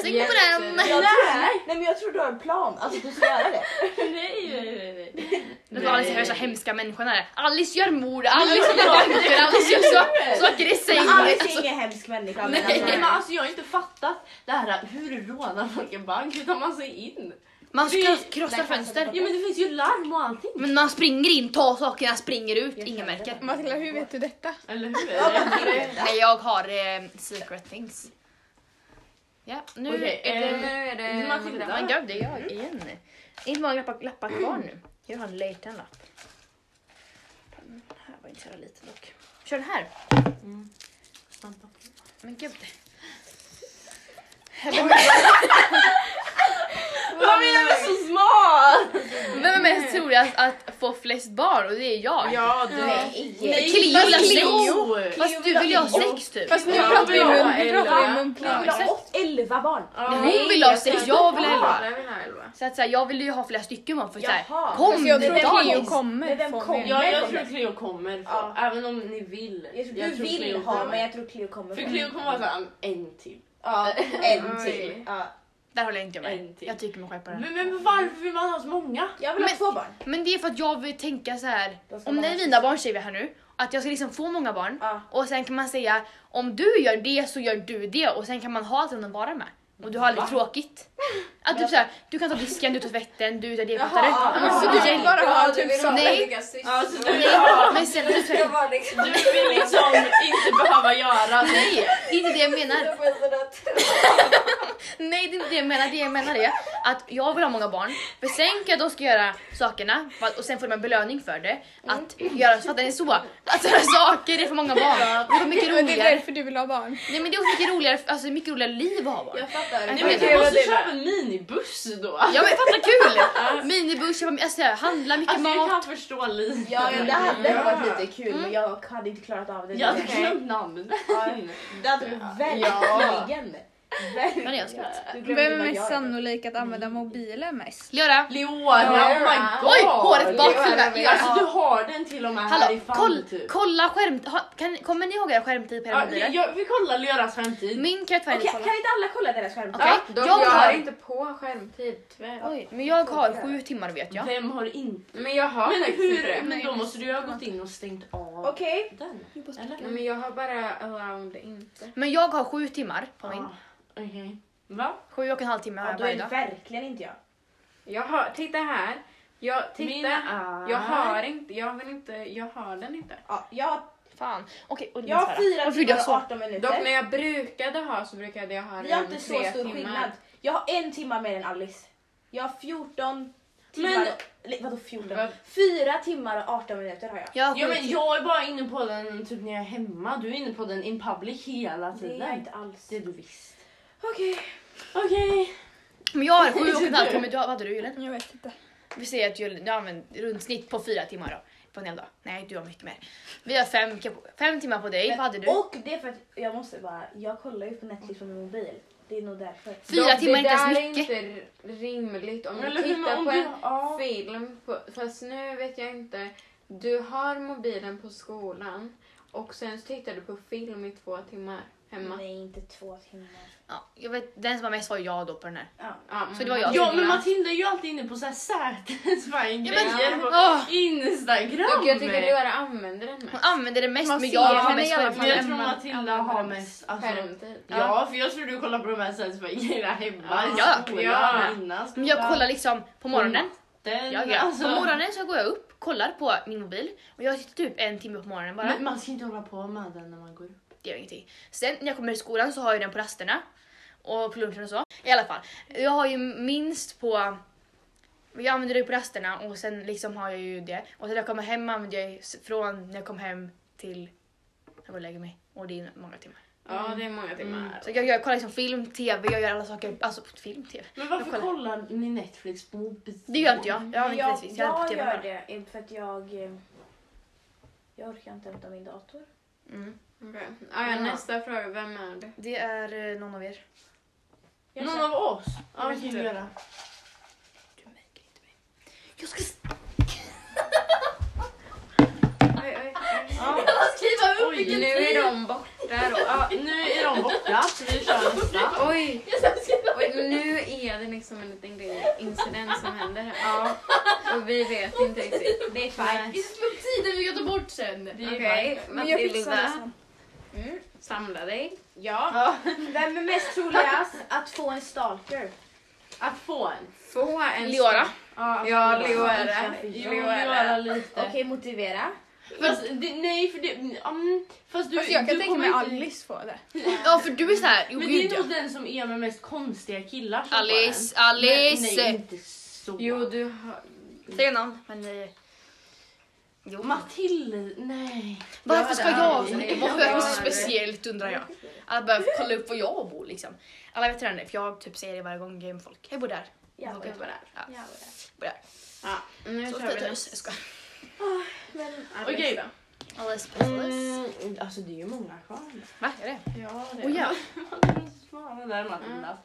[SPEAKER 1] Snyggt på den!
[SPEAKER 5] Jag tror, nej men jag tror du har en plan, alltså du ska göra det.
[SPEAKER 3] Nej, nej, nej. nej.
[SPEAKER 1] Nu får Alice höra så hemska människorna där. Alice gör mord, [laughs] Alice gör banker, Alice gör så, saker i sängen.
[SPEAKER 5] Men Alice är
[SPEAKER 1] Alltså,
[SPEAKER 5] ingen hemsk människa.
[SPEAKER 1] Nej.
[SPEAKER 5] Men
[SPEAKER 3] Nej, men
[SPEAKER 5] alltså,
[SPEAKER 3] alltså, jag har inte fattat det här hur rånar folk en bank utan man ser in.
[SPEAKER 1] Man ska
[SPEAKER 3] Det-
[SPEAKER 1] krossa fönster.
[SPEAKER 3] Ja men det finns ju larm och allting.
[SPEAKER 1] Men man springer in, tar sakerna, springer ut, ingen märker.
[SPEAKER 2] Matilda, hur vet du detta?
[SPEAKER 3] Eller hur? Eller-
[SPEAKER 1] Nej, jag har eh, secret things. Ja, nu
[SPEAKER 3] Okej,
[SPEAKER 1] är det...
[SPEAKER 3] eh,
[SPEAKER 4] Nu är det
[SPEAKER 3] Matilda.
[SPEAKER 1] Men gud, det är jag igen. Det är inte många lappar, lappar kvar nu. Jag har en liten lapp. Den här var inte så jävla liten dock. Kör den här. Mm. Men gud.
[SPEAKER 3] Vad menar du så smal?
[SPEAKER 1] Vem är mest troligast att få flest barn? Och det är jag.
[SPEAKER 3] Ja du.
[SPEAKER 5] nej.
[SPEAKER 1] Cleo vill ha sex.
[SPEAKER 3] Cleo.
[SPEAKER 1] Fast du vill ju ha sex typ.
[SPEAKER 2] Fast nu
[SPEAKER 3] Ja,
[SPEAKER 2] pratar vi
[SPEAKER 3] ja,
[SPEAKER 2] mun- nu pratar vi
[SPEAKER 3] Ella.
[SPEAKER 5] Jag
[SPEAKER 2] muntligt.
[SPEAKER 5] vill ha åt- elva barn.
[SPEAKER 1] Hon vill ha sex, jag vill ha elva.
[SPEAKER 4] Jag vill ha elva.
[SPEAKER 1] Så att så här, jag vill ju ha flera stycken barn för så här,
[SPEAKER 5] Jaha.
[SPEAKER 1] kom
[SPEAKER 2] Fast Alltså, jag tror att
[SPEAKER 1] dagis.
[SPEAKER 2] Cleo kommer
[SPEAKER 5] Men vem
[SPEAKER 2] få
[SPEAKER 5] kommer?
[SPEAKER 2] mer.
[SPEAKER 3] Ja jag tror Cleo kommer. få-
[SPEAKER 5] Ja.
[SPEAKER 3] Även om ni vill.
[SPEAKER 5] Jag tror, du vill
[SPEAKER 3] Cleo
[SPEAKER 5] ha
[SPEAKER 3] kommer.
[SPEAKER 5] men jag tror Cleo kommer.
[SPEAKER 3] För
[SPEAKER 5] få.
[SPEAKER 3] Cleo kommer vara såhär en till.
[SPEAKER 5] Ja, en
[SPEAKER 4] Oj.
[SPEAKER 5] till. Ja.
[SPEAKER 1] Där håller jag inte
[SPEAKER 3] En
[SPEAKER 1] med.
[SPEAKER 3] till.
[SPEAKER 1] Jag tycker mig själv på det. här.
[SPEAKER 3] Men, men varför vill man ha så många?
[SPEAKER 5] Jag vill ha
[SPEAKER 1] Men-
[SPEAKER 5] två barn.
[SPEAKER 1] Men det är för att jag vill tänka så här.
[SPEAKER 5] Då ska
[SPEAKER 1] om
[SPEAKER 5] man
[SPEAKER 1] det är
[SPEAKER 5] ha
[SPEAKER 1] mina barn säger vi här nu, att jag ska liksom få många barn
[SPEAKER 5] Ja.
[SPEAKER 1] och sen kan man säga om du gör det så gör du det och sen kan man ha allt att vara med. Och du har aldrig
[SPEAKER 3] Va?
[SPEAKER 1] tråkigt. Att typ
[SPEAKER 5] jag-
[SPEAKER 1] såhär, du kan ta disken, du tar tvätten, du tar diskmaskinen.
[SPEAKER 5] Jaha,
[SPEAKER 1] Ja, men
[SPEAKER 5] ja,
[SPEAKER 1] så
[SPEAKER 5] ja.
[SPEAKER 1] Alltså, du hjälper-
[SPEAKER 2] Bara ha
[SPEAKER 4] du
[SPEAKER 2] typ
[SPEAKER 4] vill ha
[SPEAKER 2] så.
[SPEAKER 1] Nej.
[SPEAKER 4] olika systrar.
[SPEAKER 3] Alltså, du, vill,
[SPEAKER 1] Nej, men sen typ
[SPEAKER 4] Jag [laughs]
[SPEAKER 1] såhär,
[SPEAKER 4] var liksom...
[SPEAKER 3] du vill liksom inte behöva göra det.
[SPEAKER 1] nej, det är inte det jag menar.
[SPEAKER 4] Jag var sådär trött.
[SPEAKER 1] Nej, det är inte det jag menar. Det jag menar är att jag vill ha många barn. För sen kan jag då ska göra sakerna för att- och sen får de en belöning för det. Att göra, fattar ni så? Att göra saker är för många barn. Det är mycket
[SPEAKER 2] Och det
[SPEAKER 1] roligare.
[SPEAKER 2] är därför du vill ha barn.
[SPEAKER 1] Nej men det är också mycket roligare, alltså mycket roligare liv att ha barn.
[SPEAKER 4] Jag fattar.
[SPEAKER 1] Nej,
[SPEAKER 3] Nej,
[SPEAKER 1] men
[SPEAKER 3] men
[SPEAKER 1] det
[SPEAKER 3] du
[SPEAKER 4] var
[SPEAKER 3] måste
[SPEAKER 4] det
[SPEAKER 3] köpa
[SPEAKER 4] där.
[SPEAKER 3] en minibuss då.
[SPEAKER 1] Ja men fatta kul! Minibuss, köpa- alltså, handla mycket
[SPEAKER 3] Alltså jag
[SPEAKER 1] mat.
[SPEAKER 3] kan förstå lite.
[SPEAKER 5] Ja, ja, det hade
[SPEAKER 3] Ja.
[SPEAKER 5] varit lite kul men jag hade inte klarat av det.
[SPEAKER 3] Jag hade
[SPEAKER 5] Det
[SPEAKER 3] glömt namnet.
[SPEAKER 5] Ja. hade varit verkligen
[SPEAKER 1] Men det är skratt.
[SPEAKER 5] Du glömde
[SPEAKER 2] Vem är
[SPEAKER 5] vad
[SPEAKER 2] mest
[SPEAKER 5] jag är.
[SPEAKER 2] sannolik att använda mobilen mest?
[SPEAKER 1] Leora!
[SPEAKER 3] Leora, oh my god!
[SPEAKER 1] Oj, håret bak till och med.
[SPEAKER 4] Leora,
[SPEAKER 1] Leora.
[SPEAKER 3] Alltså du har den till och med här i
[SPEAKER 1] Hallå,
[SPEAKER 3] famn
[SPEAKER 1] koll,
[SPEAKER 3] typ.
[SPEAKER 1] kolla skärm... ha- Kan, kommer ni ihåg era skärmtid på era
[SPEAKER 3] Ja,
[SPEAKER 1] mobiler?
[SPEAKER 3] jag, vi kollar Leoras framtid.
[SPEAKER 1] Min kan jag tyvärr
[SPEAKER 5] Okej,
[SPEAKER 1] inte
[SPEAKER 5] kan
[SPEAKER 1] kolla.
[SPEAKER 5] inte alla kolla deras skärm?
[SPEAKER 1] Okej,
[SPEAKER 4] Dock, jag,
[SPEAKER 1] jag
[SPEAKER 4] har
[SPEAKER 1] har...
[SPEAKER 4] inte på skärmtid tyvärr.
[SPEAKER 1] Oj, men jag har sju timmar vet jag.
[SPEAKER 3] Vem har inte?
[SPEAKER 4] Men jag har
[SPEAKER 3] Men
[SPEAKER 4] faktiskt inte
[SPEAKER 3] hur?
[SPEAKER 4] det.
[SPEAKER 3] Men då måste du ju ha gått in och stängt av
[SPEAKER 5] Okej,
[SPEAKER 3] den.
[SPEAKER 4] Nej,
[SPEAKER 3] Eller?
[SPEAKER 4] men jag har bara around inte.
[SPEAKER 1] Men jag har sju timmar på min.
[SPEAKER 3] Ah, Okej. Va?
[SPEAKER 1] Sju och en halv timme har
[SPEAKER 5] ja,
[SPEAKER 1] jag
[SPEAKER 5] då är
[SPEAKER 1] varje
[SPEAKER 5] det
[SPEAKER 1] dag.
[SPEAKER 5] verkligen inte jag.
[SPEAKER 4] Jag har, titta här. Jag, titta.
[SPEAKER 3] Min är...
[SPEAKER 4] Jag har inte, jag vill inte, jag har den inte.
[SPEAKER 5] Ja, jag,
[SPEAKER 1] Fan. Okej, och
[SPEAKER 5] jag har fyra timmar och 18
[SPEAKER 4] Dock när
[SPEAKER 5] minuter.
[SPEAKER 4] jag brukade ha så brukade jag ha
[SPEAKER 5] Vi har
[SPEAKER 4] den
[SPEAKER 5] inte
[SPEAKER 4] i
[SPEAKER 5] så
[SPEAKER 4] tre
[SPEAKER 5] stor skillnad.
[SPEAKER 4] timmar.
[SPEAKER 5] Jag har en timma mer än Alice. Jag har 14 timmar...
[SPEAKER 3] Men-
[SPEAKER 5] och- eller Vadå 14?
[SPEAKER 4] Vad?
[SPEAKER 5] Fyra timmar och 18 minuter har jag.
[SPEAKER 1] Jag har
[SPEAKER 3] Ja,
[SPEAKER 1] sju
[SPEAKER 3] men jag är bara inne på den typ när jag är hemma. Du är inne på den in public hela
[SPEAKER 5] Det är jag
[SPEAKER 3] tiden.
[SPEAKER 5] inte alls.
[SPEAKER 3] Det är du visst.
[SPEAKER 5] Okej.
[SPEAKER 3] Okej.
[SPEAKER 1] Men jag har sju och en halv timme. Du, har- vad hade du Julen?
[SPEAKER 2] Jag vet inte.
[SPEAKER 1] Vi säger att Julen, du har använt runt snitt på fyra timmar då. På en hel dag. Nej, du har mycket mer. Vi har fem, fem timmar på dig. Vad hade du?
[SPEAKER 5] Och det är för att jag måste bara, jag kollar ju på Netflix på min mobil. Det är nog därför.
[SPEAKER 1] Fyra
[SPEAKER 4] Dock,
[SPEAKER 1] timmar är inte ens mycket.
[SPEAKER 4] Det där är inte rimligt om
[SPEAKER 3] Eller
[SPEAKER 4] du
[SPEAKER 3] hur,
[SPEAKER 4] tittar
[SPEAKER 3] om
[SPEAKER 4] på
[SPEAKER 3] du-
[SPEAKER 4] en
[SPEAKER 3] ja.
[SPEAKER 4] film. På, fast nu vet jag inte. Du har mobilen på skolan och sen så tittar du på film i två timmar hemma.
[SPEAKER 5] Nej, inte två timmar.
[SPEAKER 1] Ja, jag vet, den som var mest var jag då på den här.
[SPEAKER 4] Ja,
[SPEAKER 1] Så det var jag.
[SPEAKER 3] Ja men Matilda är ju alltid inne på så här Sätens
[SPEAKER 1] Ja,
[SPEAKER 3] grejer
[SPEAKER 1] men,
[SPEAKER 3] på
[SPEAKER 1] åh,
[SPEAKER 3] Instagram.
[SPEAKER 4] Dock jag tycker Leora använder den
[SPEAKER 1] hon
[SPEAKER 4] mest.
[SPEAKER 1] använder det mest
[SPEAKER 2] Man
[SPEAKER 1] men
[SPEAKER 2] ser
[SPEAKER 1] jag har
[SPEAKER 2] henne
[SPEAKER 1] mest
[SPEAKER 2] i alla
[SPEAKER 1] själv.
[SPEAKER 3] men
[SPEAKER 2] fall.
[SPEAKER 3] jag tror
[SPEAKER 2] Använder-
[SPEAKER 3] Matilda
[SPEAKER 2] använder
[SPEAKER 3] har
[SPEAKER 2] den
[SPEAKER 3] mest. Alltså,
[SPEAKER 4] Skärmtid.
[SPEAKER 3] ja för jag tror du kollar på de här Sätens grejerna hemma. i
[SPEAKER 1] Ja,
[SPEAKER 3] skolan,
[SPEAKER 4] ja.
[SPEAKER 3] Innan,
[SPEAKER 1] Men jag kollar liksom på morgonen.
[SPEAKER 3] Den,
[SPEAKER 1] Ja, ja.
[SPEAKER 3] Mm. alltså.
[SPEAKER 1] På morgonen så går jag upp, kollar på min mobil och jag sitter typ en timme på morgonen bara.
[SPEAKER 3] Men man ska inte hålla på med den när man går upp.
[SPEAKER 1] Det gör ingenting. Sen när jag kommer till skolan så har jag den på rasterna och på lunchen och så. I alla fall, jag har ju minst på jag använder det på rasterna och sen liksom har jag ju det. Och sen när jag kommer hem använder jag ju s- från när jag kom hem till jag går och lägger mig. Och det är många timmar.
[SPEAKER 4] Ja, det är många
[SPEAKER 3] Mm.
[SPEAKER 4] timmar.
[SPEAKER 1] Så jag, jag kollar liksom film, tv, jag gör alla saker. Alltså film, tv.
[SPEAKER 3] Men
[SPEAKER 1] Jag
[SPEAKER 3] varför
[SPEAKER 1] kollar.
[SPEAKER 3] kollar ni Netflix på mobilen?
[SPEAKER 1] Det gör inte jag. Jag har
[SPEAKER 5] Men
[SPEAKER 1] inte Netflix. Jag, har på
[SPEAKER 5] jag,
[SPEAKER 1] tv
[SPEAKER 5] gör
[SPEAKER 1] bara.
[SPEAKER 5] det eh, för att jag... eh, Jag orkar inte hämta min dator.
[SPEAKER 1] Mm.
[SPEAKER 4] Okej. Ah, ja,
[SPEAKER 1] Ja.
[SPEAKER 4] nästa fråga, vem är det?
[SPEAKER 1] Det är eh, någon av er.
[SPEAKER 5] Jag
[SPEAKER 3] Någon av oss? Ja,
[SPEAKER 4] vet
[SPEAKER 3] vi kan
[SPEAKER 4] inte.
[SPEAKER 3] göra.
[SPEAKER 1] Du märker inte mig. Jag ska s-
[SPEAKER 4] Oj, oj, oj.
[SPEAKER 3] Ja.
[SPEAKER 1] skriva upp!
[SPEAKER 3] Oj,
[SPEAKER 4] Nu är de borta då.
[SPEAKER 3] Ja, nu är de borta så vi kör nästa.
[SPEAKER 4] Oj! Och nu är det liksom en liten grej, incident som händer här. Ja. Och vi vet inte riktigt.
[SPEAKER 3] Det är fint.
[SPEAKER 1] Tiden vi ta bort sen.
[SPEAKER 4] Okej,
[SPEAKER 2] Men jag fixar det
[SPEAKER 4] Matilda,
[SPEAKER 2] sen.
[SPEAKER 4] samla dig.
[SPEAKER 5] Ja.
[SPEAKER 3] Ja.
[SPEAKER 5] Vem är mest troligast att få en stalker?
[SPEAKER 3] Att få en.
[SPEAKER 4] Få en
[SPEAKER 1] Leora.
[SPEAKER 3] Ja,
[SPEAKER 4] Ja,
[SPEAKER 3] absolut.
[SPEAKER 4] Leora.
[SPEAKER 3] Jo, Leora
[SPEAKER 4] Leora.
[SPEAKER 3] lite.
[SPEAKER 5] Okej, motivera.
[SPEAKER 3] Fast, det, nej, för det... mm, fast du,
[SPEAKER 2] Fast jag kan
[SPEAKER 3] du
[SPEAKER 2] tänka mig
[SPEAKER 3] kommer inte-
[SPEAKER 2] Alice få det.
[SPEAKER 1] Ja för du är såhär, jo
[SPEAKER 3] Men det
[SPEAKER 1] gud
[SPEAKER 3] är
[SPEAKER 1] ja.
[SPEAKER 3] nog den som är med mest konstiga killar som
[SPEAKER 1] Alice,
[SPEAKER 3] får den. Men, nej,
[SPEAKER 1] Alice!
[SPEAKER 3] inte så.
[SPEAKER 4] Jo, du har...
[SPEAKER 1] Säg namn. Men eh, Jo.
[SPEAKER 3] Matilde, nej.
[SPEAKER 1] Varför ska
[SPEAKER 3] Ja, det
[SPEAKER 1] jag
[SPEAKER 3] är-
[SPEAKER 1] Varför
[SPEAKER 4] det.
[SPEAKER 1] är jag så
[SPEAKER 4] Ja, det är-
[SPEAKER 1] speciellt undrar jag. Alla behöver kolla upp var jag bor liksom. Alla vet redan det för jag typ säger det varje gång jag är med folk. Jag bor där.
[SPEAKER 5] Jag
[SPEAKER 1] Okej.
[SPEAKER 5] okay.
[SPEAKER 4] Jag var där.
[SPEAKER 5] jag var där.
[SPEAKER 4] Ja, nu
[SPEAKER 1] Så
[SPEAKER 4] kör vi
[SPEAKER 1] fint
[SPEAKER 4] nästa.
[SPEAKER 1] hus. Jag
[SPEAKER 4] Okej.
[SPEAKER 3] Okej.
[SPEAKER 1] Alice Puzzles.
[SPEAKER 3] Mm, alltså det är ju många kvar.
[SPEAKER 1] Va? Är det?
[SPEAKER 4] Ja, det
[SPEAKER 1] Åh Oh, ja.
[SPEAKER 3] Du måste svara där Matilda.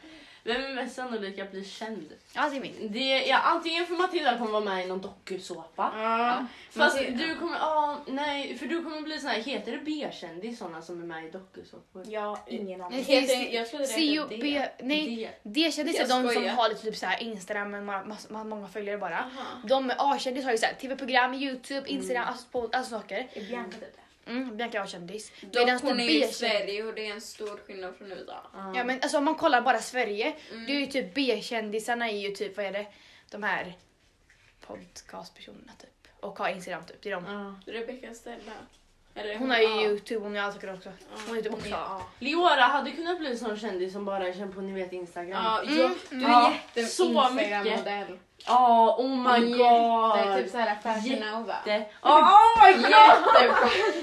[SPEAKER 3] Vem är mest sannolik att bli känd?
[SPEAKER 1] Ja det är min.
[SPEAKER 3] Det är, antingen för Matilda kommer vara med i någon dokusåpa.
[SPEAKER 4] Ja.
[SPEAKER 3] Fast
[SPEAKER 4] Matilda.
[SPEAKER 3] du kommer, ja nej, för du kommer bli sån här, heter det B-kändis såna som är med i dokusåpor?
[SPEAKER 5] Jag har ingen aning.
[SPEAKER 1] Nej,
[SPEAKER 4] Heter- jag trodde det
[SPEAKER 1] C-
[SPEAKER 4] hette
[SPEAKER 1] B- Nej.
[SPEAKER 3] Det-
[SPEAKER 1] D-kändisar är
[SPEAKER 4] Jag
[SPEAKER 1] de som
[SPEAKER 4] skojar.
[SPEAKER 1] har lite typ såhär Instagram med ma- mass- ma- många följare bara.
[SPEAKER 4] Aha.
[SPEAKER 1] De med A-kändisar har ju såhär TV-program, YouTube, Instagram, alltså, på, alltså saker.
[SPEAKER 5] Är Bianca typ det?
[SPEAKER 1] Mm, Bianca är A-kändis.
[SPEAKER 4] Dock, hon är ju i
[SPEAKER 1] B-kändis-
[SPEAKER 4] Sverige och det är en stor skillnad från USA.
[SPEAKER 1] Ja men alltså om man kollar bara Sverige, det är ju typ B-kändisarna är ju typ, vad är det, de här podcastpersonerna typ. Och har Instagram typ, det är de.
[SPEAKER 3] Ja.
[SPEAKER 4] Rebecca Stella. Eller
[SPEAKER 1] Hon har ju
[SPEAKER 4] ja.
[SPEAKER 1] youtube, hon har allt saker också. Hon är typ också.
[SPEAKER 5] Ja.
[SPEAKER 3] Leora hade kunnat bli en sån kändis som bara är känd på ni vet Instagram.
[SPEAKER 4] Ja,
[SPEAKER 1] Mm,
[SPEAKER 4] ja, du är
[SPEAKER 3] Ja,
[SPEAKER 4] jätte
[SPEAKER 3] så
[SPEAKER 4] Instagram-modell.
[SPEAKER 3] Ja, oh my
[SPEAKER 4] Jätte,
[SPEAKER 3] god.
[SPEAKER 4] typ såhär Fashion Nova.
[SPEAKER 3] Jätte- Ja,
[SPEAKER 4] Oh my god!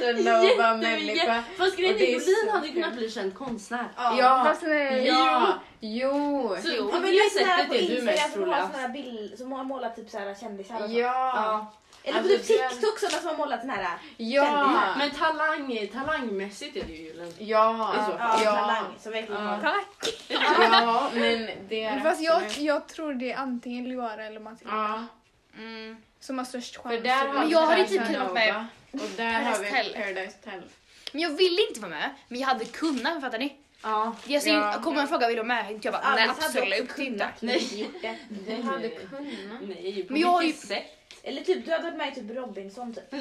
[SPEAKER 4] Jätte Nova människa.
[SPEAKER 3] jätte- Fast grejen
[SPEAKER 4] Och det
[SPEAKER 3] är
[SPEAKER 4] är
[SPEAKER 3] att Jolin
[SPEAKER 4] så
[SPEAKER 3] hade
[SPEAKER 4] kul.
[SPEAKER 3] kunnat bli känd konstnär.
[SPEAKER 4] Ja.
[SPEAKER 2] Fast nej.
[SPEAKER 4] Ja. Jo.
[SPEAKER 3] Så på
[SPEAKER 5] Ja, men
[SPEAKER 3] det
[SPEAKER 5] lyssna på
[SPEAKER 3] sättet är typ du
[SPEAKER 5] Instagram alltså.
[SPEAKER 3] mest
[SPEAKER 5] som har
[SPEAKER 3] troligast.
[SPEAKER 5] såna här bilder som har målat typ så här kändisar och så.
[SPEAKER 4] Ja.
[SPEAKER 3] Ja.
[SPEAKER 5] Eller på
[SPEAKER 4] Alltså,
[SPEAKER 5] typ
[SPEAKER 4] den-
[SPEAKER 5] TikTok sådana som har målat den här.
[SPEAKER 4] Ja!
[SPEAKER 3] Men talang, talangmässigt är det ju julen.
[SPEAKER 4] Ja,
[SPEAKER 3] Det är så.
[SPEAKER 5] Ja,
[SPEAKER 4] ja,
[SPEAKER 5] talang som verkligen
[SPEAKER 4] Ja.
[SPEAKER 5] har
[SPEAKER 2] Tack!
[SPEAKER 4] ja, men det är
[SPEAKER 2] Fast jag,
[SPEAKER 4] absolut-
[SPEAKER 2] jag tror det är antingen Loara eller Matilda
[SPEAKER 4] Ja,
[SPEAKER 1] Mm.
[SPEAKER 2] som har störst chans.
[SPEAKER 4] för där har
[SPEAKER 1] Men
[SPEAKER 4] vi
[SPEAKER 1] jag har
[SPEAKER 4] Paradise
[SPEAKER 1] inte
[SPEAKER 2] typ-
[SPEAKER 1] kunnat vara med.
[SPEAKER 4] Nova, Och där har vi
[SPEAKER 1] Paradise
[SPEAKER 4] Paradise Tell.
[SPEAKER 1] Men jag ville inte vara med, men jag hade kunnat fattar ni?
[SPEAKER 3] Ja.
[SPEAKER 1] Yes,
[SPEAKER 4] Ja.
[SPEAKER 1] ja. Kommer en fråga vill du vara med? Jag bara, nej
[SPEAKER 5] Alice hade
[SPEAKER 1] absolut
[SPEAKER 5] också
[SPEAKER 1] inte.
[SPEAKER 5] kunnat, men inte gjort det.
[SPEAKER 4] Det hade kunnat.
[SPEAKER 3] Nej, på
[SPEAKER 1] Men jag har ju-
[SPEAKER 3] vilket sätt?
[SPEAKER 5] Eller typ du hade varit med i typ Robinson typ.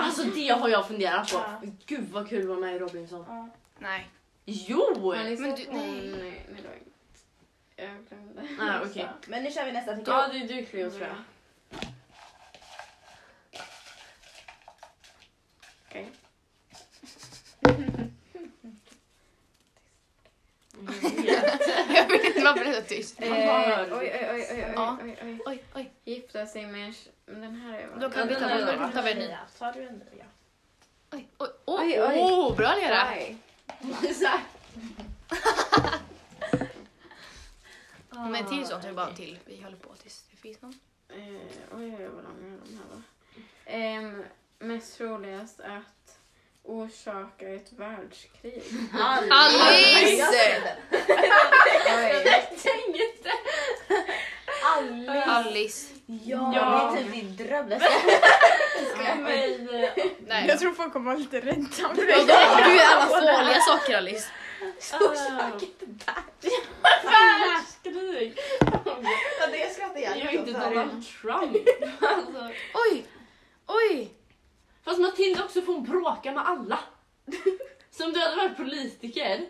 [SPEAKER 3] Alltså det har jag funderat på.
[SPEAKER 5] Ja.
[SPEAKER 3] Gud vad kul att vara med i Robinson.
[SPEAKER 5] Ja.
[SPEAKER 1] Nej.
[SPEAKER 3] Jo! Ah,
[SPEAKER 4] Men,
[SPEAKER 1] Men
[SPEAKER 4] du,
[SPEAKER 1] du-
[SPEAKER 4] nej. Nej, nej, nej. Jag glömde.
[SPEAKER 3] Nej, okej.
[SPEAKER 5] Men nu kör vi nästa tycker
[SPEAKER 3] Ja,
[SPEAKER 5] jag.
[SPEAKER 3] det är du Cleo tror jag.
[SPEAKER 4] Okej.
[SPEAKER 1] [laughs]
[SPEAKER 3] Mm,
[SPEAKER 1] Jag vet inte varför det är så tyst.
[SPEAKER 4] Eh, oj, oj, oj, oj,
[SPEAKER 1] Ja.
[SPEAKER 4] oj, oj, oj.
[SPEAKER 1] Oj, oj.
[SPEAKER 4] Gifta sig med en... tj- Men den här är
[SPEAKER 1] Då
[SPEAKER 4] väl...
[SPEAKER 1] kan vi ta
[SPEAKER 3] Ja,
[SPEAKER 1] bort
[SPEAKER 3] den
[SPEAKER 1] den. Tar vi en ny.
[SPEAKER 5] Tar du en ny? Ja.
[SPEAKER 1] Oj, oj, oj.
[SPEAKER 4] Oj, oj.
[SPEAKER 1] Åh, bra Lera!
[SPEAKER 4] Oj.
[SPEAKER 5] [laughs]
[SPEAKER 1] Men till sånt, vi bara en till. Vi håller på tills det finns någon.
[SPEAKER 4] Eh, oj, oj, oj, vad långa de här var. Ehm, mest troligast att orsaka ett världskrig.
[SPEAKER 1] Alice!
[SPEAKER 4] Oj.
[SPEAKER 5] Alice!
[SPEAKER 1] Alice.
[SPEAKER 5] Ja,
[SPEAKER 3] Ja.
[SPEAKER 5] det är typ din dröm.
[SPEAKER 3] Men, eh,
[SPEAKER 1] Nej.
[SPEAKER 2] Jag tror folk kommer vara lite rädda om
[SPEAKER 1] Ja,
[SPEAKER 2] det.
[SPEAKER 1] då har du alla farliga saker Alice. Ah.
[SPEAKER 5] Storsaket
[SPEAKER 3] Skrik!
[SPEAKER 5] Ja, det skrattar
[SPEAKER 3] Jag
[SPEAKER 5] jag
[SPEAKER 3] är inte Donald Trump. [laughs] Alltså.
[SPEAKER 1] Oj! Oj!
[SPEAKER 3] Fast Matilda också får hon bråka
[SPEAKER 1] [laughs]
[SPEAKER 3] med alla. Som du hade varit politiker.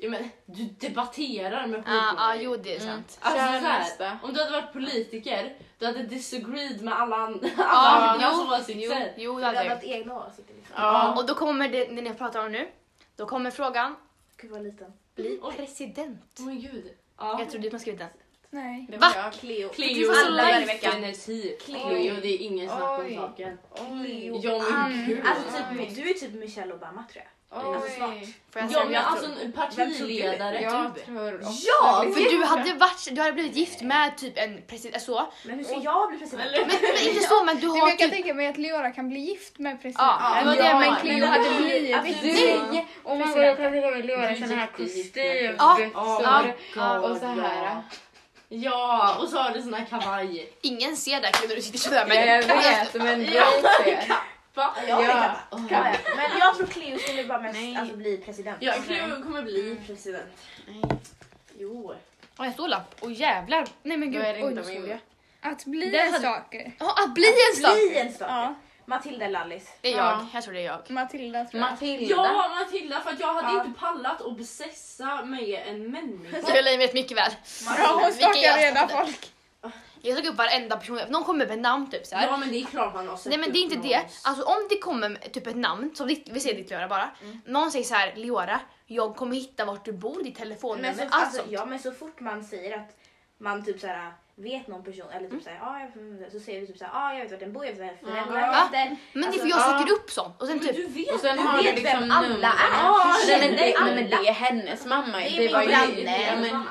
[SPEAKER 3] Ja, men, du debatterar med
[SPEAKER 1] Ja,
[SPEAKER 3] politiker.
[SPEAKER 1] ah, jo det är sant.
[SPEAKER 3] Alltså,
[SPEAKER 4] Kör
[SPEAKER 3] så här,
[SPEAKER 4] nästa.
[SPEAKER 3] om du hade varit politiker, du hade disagreed med alla, an- [laughs] alla
[SPEAKER 1] Ja,
[SPEAKER 3] andras
[SPEAKER 1] Ah, Jo,
[SPEAKER 3] åsikter.
[SPEAKER 1] jo det
[SPEAKER 5] Du
[SPEAKER 1] hade
[SPEAKER 5] hade
[SPEAKER 1] jag.
[SPEAKER 5] haft egna åsikter. liksom.
[SPEAKER 3] Ja.
[SPEAKER 1] Och då kommer det, det ni pratar om nu. Då kommer frågan,
[SPEAKER 5] Gud vad liten.
[SPEAKER 1] bli
[SPEAKER 3] Oj.
[SPEAKER 1] president.
[SPEAKER 3] Åh men gud. Ja.
[SPEAKER 1] Jag tror du har skrivit den.
[SPEAKER 2] Nej.
[SPEAKER 4] Det var
[SPEAKER 1] Va?
[SPEAKER 4] jag.
[SPEAKER 5] Cleo.
[SPEAKER 1] Du
[SPEAKER 3] Cleo,
[SPEAKER 1] får så
[SPEAKER 3] alla
[SPEAKER 1] lite
[SPEAKER 3] i veckan. Energi. Cleo, det är ingen snack om
[SPEAKER 4] Oj.
[SPEAKER 3] saken.
[SPEAKER 4] Oj.
[SPEAKER 5] Cleo.
[SPEAKER 3] Ja men gud.
[SPEAKER 5] Alltså
[SPEAKER 4] Oj.
[SPEAKER 5] typ, du är typ Michelle Obama tror jag.
[SPEAKER 3] Alltså,
[SPEAKER 4] Oj.
[SPEAKER 3] snart.
[SPEAKER 1] Får jag säga
[SPEAKER 3] ja
[SPEAKER 1] vad
[SPEAKER 3] men
[SPEAKER 1] jag
[SPEAKER 3] alltså
[SPEAKER 1] tror?
[SPEAKER 3] en
[SPEAKER 5] Vem tror du?
[SPEAKER 3] partiledare.
[SPEAKER 4] Jag
[SPEAKER 3] typ.
[SPEAKER 4] tror också
[SPEAKER 1] Ja,
[SPEAKER 4] det.
[SPEAKER 1] för du hade, varit, du hade blivit gift med typ en president, så.
[SPEAKER 5] Men hur ska jag bli president?
[SPEAKER 1] Men, men inte så men du
[SPEAKER 2] Nej, men
[SPEAKER 1] har
[SPEAKER 2] jag kan
[SPEAKER 1] typ...
[SPEAKER 2] tänka mig att Leora kan bli gift med presidenten.
[SPEAKER 1] Ja, det var det
[SPEAKER 3] Ja,
[SPEAKER 1] men
[SPEAKER 4] men
[SPEAKER 1] Cleo
[SPEAKER 4] det
[SPEAKER 1] hade
[SPEAKER 4] var-
[SPEAKER 1] blivit.
[SPEAKER 5] Alltså,
[SPEAKER 4] Du,
[SPEAKER 5] du-
[SPEAKER 4] oh my god, jag kan tänka mig Leora i sån här kostym,
[SPEAKER 1] Ja,
[SPEAKER 4] byxor
[SPEAKER 3] ja,
[SPEAKER 4] och så här.
[SPEAKER 3] Ja, och så har du sån här kavaj.
[SPEAKER 1] Ingen ser dig när du sitter sådär
[SPEAKER 4] Ja, jag
[SPEAKER 1] men...
[SPEAKER 4] vet, men du
[SPEAKER 3] Ja,
[SPEAKER 4] ser.
[SPEAKER 3] Va?
[SPEAKER 5] Ja, det
[SPEAKER 4] Ja.
[SPEAKER 5] kan man. Ja, ja. Men jag tror Cleo skulle bara
[SPEAKER 4] Nej.
[SPEAKER 5] mest, alltså, Mm. bli president.
[SPEAKER 3] Ja, Cleo kommer bli president.
[SPEAKER 4] Nej,
[SPEAKER 3] Jo.
[SPEAKER 1] Och en stor lapp. Och jävlar. Nej men
[SPEAKER 4] Då
[SPEAKER 1] gud.
[SPEAKER 4] är det
[SPEAKER 1] Oj,
[SPEAKER 4] inte
[SPEAKER 1] nu
[SPEAKER 4] om
[SPEAKER 1] såg
[SPEAKER 4] Julia.
[SPEAKER 1] jag.
[SPEAKER 2] Att bli
[SPEAKER 1] Det
[SPEAKER 2] en
[SPEAKER 1] hade-
[SPEAKER 2] sak.
[SPEAKER 1] Ja, att bli en stat.
[SPEAKER 5] Bli en stat.
[SPEAKER 2] Ja.
[SPEAKER 5] Matilda eller Alice?
[SPEAKER 1] Det är
[SPEAKER 4] Ja.
[SPEAKER 1] jag. Jag tror det är jag.
[SPEAKER 2] Matilda tror jag.
[SPEAKER 4] Matilda.
[SPEAKER 3] Ja, Matilda, för att jag hade
[SPEAKER 5] Ja.
[SPEAKER 3] inte pallat att besessa med en
[SPEAKER 1] [laughs]
[SPEAKER 3] människa.
[SPEAKER 1] Caroline vet mycket väl.
[SPEAKER 2] Ja, hon
[SPEAKER 1] Vilken jag
[SPEAKER 2] stakar redan
[SPEAKER 1] skattade.
[SPEAKER 2] folk.
[SPEAKER 1] Jag tog upp varenda person. Någon kommer med namn typ så här.
[SPEAKER 3] Ja, typ. men det är klart man har sett
[SPEAKER 1] Nej men det är inte
[SPEAKER 3] upp
[SPEAKER 1] det.
[SPEAKER 3] någons-
[SPEAKER 1] Alltså om det kommer med typ ett namn, som ditt, vi säger ditt Leora bara. Någon säger så här, Leora, jag kommer hitta vart du bor, ditt
[SPEAKER 5] Men
[SPEAKER 1] telefonnummer,
[SPEAKER 5] så,
[SPEAKER 1] allt
[SPEAKER 5] alltså,
[SPEAKER 1] sånt.
[SPEAKER 5] ja, men så fort man säger att man typ såhär, vet någon person eller typ såhär, ah, jag, mm", så säger du typ såhär, ah, jag vet vart den bor, jag vet vart föräldrar
[SPEAKER 1] Ja.
[SPEAKER 5] heter.
[SPEAKER 1] Men det är
[SPEAKER 5] Alltså,
[SPEAKER 1] för jag
[SPEAKER 4] ja.
[SPEAKER 1] söker upp sånt. Och sen
[SPEAKER 3] Men
[SPEAKER 1] typ,
[SPEAKER 3] du vet
[SPEAKER 4] Och sen
[SPEAKER 5] Du
[SPEAKER 4] har du
[SPEAKER 5] vet
[SPEAKER 4] liksom
[SPEAKER 5] vem alla
[SPEAKER 4] nummer.
[SPEAKER 5] är.
[SPEAKER 4] Ja,
[SPEAKER 5] Du
[SPEAKER 4] men
[SPEAKER 5] känner
[SPEAKER 4] det,
[SPEAKER 5] alla.
[SPEAKER 4] men det är hennes mamma.
[SPEAKER 5] Det är
[SPEAKER 4] Det
[SPEAKER 5] min
[SPEAKER 4] var ju
[SPEAKER 5] granne.
[SPEAKER 4] ja, men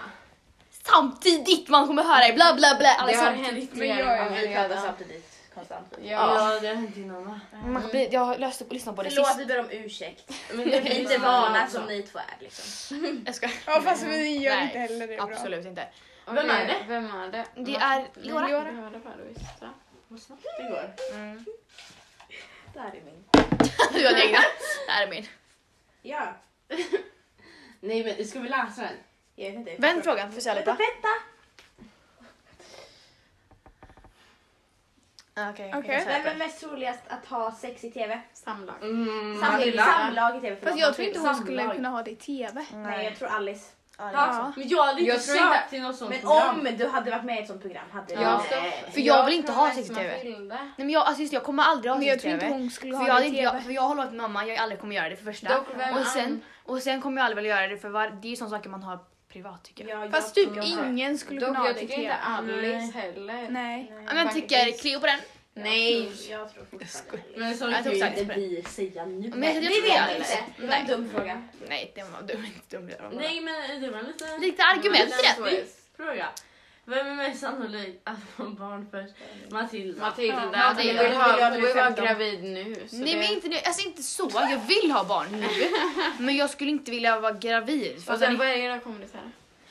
[SPEAKER 1] samtidigt man kommer höra i bla bla bla. Alltså, Alla
[SPEAKER 4] Det har
[SPEAKER 1] sånt.
[SPEAKER 4] hänt
[SPEAKER 2] Men
[SPEAKER 4] mer
[SPEAKER 2] jag är
[SPEAKER 4] än vad
[SPEAKER 5] Vi
[SPEAKER 4] vi
[SPEAKER 5] pratar
[SPEAKER 4] vet.
[SPEAKER 5] samtidigt konstant.
[SPEAKER 4] Ja.
[SPEAKER 3] det har hänt innan.
[SPEAKER 1] Man kan bli, jag löste och lyssnade på det
[SPEAKER 5] Förlåt,
[SPEAKER 1] sist.
[SPEAKER 5] vi ber om ursäkt. alltså.
[SPEAKER 3] Men
[SPEAKER 5] [laughs] Vi är inte vana som ni två är liksom.
[SPEAKER 1] Jag ska,
[SPEAKER 2] Ja fast vi gör
[SPEAKER 1] Nej,
[SPEAKER 2] inte heller det bra.
[SPEAKER 1] absolut inte.
[SPEAKER 3] Vem är det?
[SPEAKER 4] Vem är det?
[SPEAKER 1] Det är
[SPEAKER 4] Leora.
[SPEAKER 1] Leora.
[SPEAKER 4] Leora Barroista.
[SPEAKER 3] Vad snabbt det går.
[SPEAKER 1] Mm.
[SPEAKER 5] Det här är min.
[SPEAKER 1] Du hade egna. [laughs] Det här är min.
[SPEAKER 5] Ja,
[SPEAKER 3] Nej men ska vi läsa den?
[SPEAKER 5] jag vet inte.
[SPEAKER 1] Vänd frågan, får se
[SPEAKER 5] Vänta,
[SPEAKER 1] lite.
[SPEAKER 5] vänta!
[SPEAKER 1] Ah, Okej.
[SPEAKER 2] Okej.
[SPEAKER 1] jag kan säga
[SPEAKER 5] Vem är
[SPEAKER 1] det.
[SPEAKER 5] mest troligast att ha sex i TV?
[SPEAKER 4] Samlag.
[SPEAKER 3] Mm.
[SPEAKER 5] Samlag,
[SPEAKER 4] Matilda.
[SPEAKER 5] samlag i TV.
[SPEAKER 2] Fast
[SPEAKER 5] förlåt.
[SPEAKER 2] jag tror inte hon
[SPEAKER 3] Samlag.
[SPEAKER 2] skulle kunna ha det i TV.
[SPEAKER 5] Nej, jag tror Alice.
[SPEAKER 1] Ja.
[SPEAKER 3] Ja. Men jag hade inte
[SPEAKER 4] Jag tror inte-
[SPEAKER 3] sökt till något sånt
[SPEAKER 5] Men
[SPEAKER 3] program.
[SPEAKER 5] om du hade varit med i ett sånt program hade du...
[SPEAKER 4] Ja.
[SPEAKER 5] Nej.
[SPEAKER 1] För jag vill inte
[SPEAKER 4] tror
[SPEAKER 1] ha
[SPEAKER 4] att
[SPEAKER 1] sex i
[SPEAKER 4] man
[SPEAKER 1] TV.
[SPEAKER 4] vill det.
[SPEAKER 1] Nej men jag, alltså just det, jag kommer aldrig ha
[SPEAKER 2] Men
[SPEAKER 1] sex
[SPEAKER 2] jag
[SPEAKER 1] i
[SPEAKER 2] tror inte
[SPEAKER 1] TV.
[SPEAKER 2] hon skulle
[SPEAKER 1] För
[SPEAKER 2] ha
[SPEAKER 1] jag,
[SPEAKER 2] det
[SPEAKER 1] hade
[SPEAKER 2] i
[SPEAKER 1] inte, jag,
[SPEAKER 2] TV.
[SPEAKER 1] för jag har lovat mamma jag aldrig kommer göra det för första.
[SPEAKER 4] Dock, vem
[SPEAKER 1] Och sen,
[SPEAKER 4] annan?
[SPEAKER 1] och sen kommer jag aldrig vilja göra det för var, det är ju sådana saker man har privat tycker jag.
[SPEAKER 5] Ja, jag
[SPEAKER 2] Fast typ
[SPEAKER 1] Mm.
[SPEAKER 5] tror jag-
[SPEAKER 2] ingen skulle
[SPEAKER 4] Dock,
[SPEAKER 2] kunna ha
[SPEAKER 4] jag
[SPEAKER 2] det i
[SPEAKER 4] tycker inte
[SPEAKER 2] TV.
[SPEAKER 4] Alice heller.
[SPEAKER 2] Nej.
[SPEAKER 1] Ja, men jag tycker
[SPEAKER 4] Faktiskt.
[SPEAKER 1] Cleo på den.
[SPEAKER 4] Nej.
[SPEAKER 5] Jag tror fortfarande Alice.
[SPEAKER 3] Men som
[SPEAKER 1] Jag tog
[SPEAKER 3] du
[SPEAKER 1] sagt
[SPEAKER 3] inte
[SPEAKER 1] på
[SPEAKER 3] vi säga nu.
[SPEAKER 1] Men jag, jag
[SPEAKER 5] Det
[SPEAKER 1] tror
[SPEAKER 5] vet
[SPEAKER 1] jag
[SPEAKER 5] vi inte. Det var en
[SPEAKER 1] Nej.
[SPEAKER 5] dum fråga.
[SPEAKER 1] Nej, det var dum, inte dum. det var bara-
[SPEAKER 3] Nej men det var en liten...
[SPEAKER 1] Lite argument i
[SPEAKER 4] Lite
[SPEAKER 1] det.
[SPEAKER 4] twist.
[SPEAKER 3] fråga. Vem är mest sannolik att få barn först? Matilda.
[SPEAKER 4] Matilda,
[SPEAKER 1] Ja,
[SPEAKER 4] hon
[SPEAKER 1] det är-
[SPEAKER 4] vill ha- hon vill vara
[SPEAKER 5] 15.
[SPEAKER 4] gravid nu. Så
[SPEAKER 1] Nej
[SPEAKER 4] det...
[SPEAKER 1] men inte nu, alltså inte så. Jag vill ha barn nu. Men jag skulle inte vilja vara gravid. För
[SPEAKER 4] Och
[SPEAKER 1] att
[SPEAKER 4] sen
[SPEAKER 1] den,
[SPEAKER 4] vad är det era kompisar?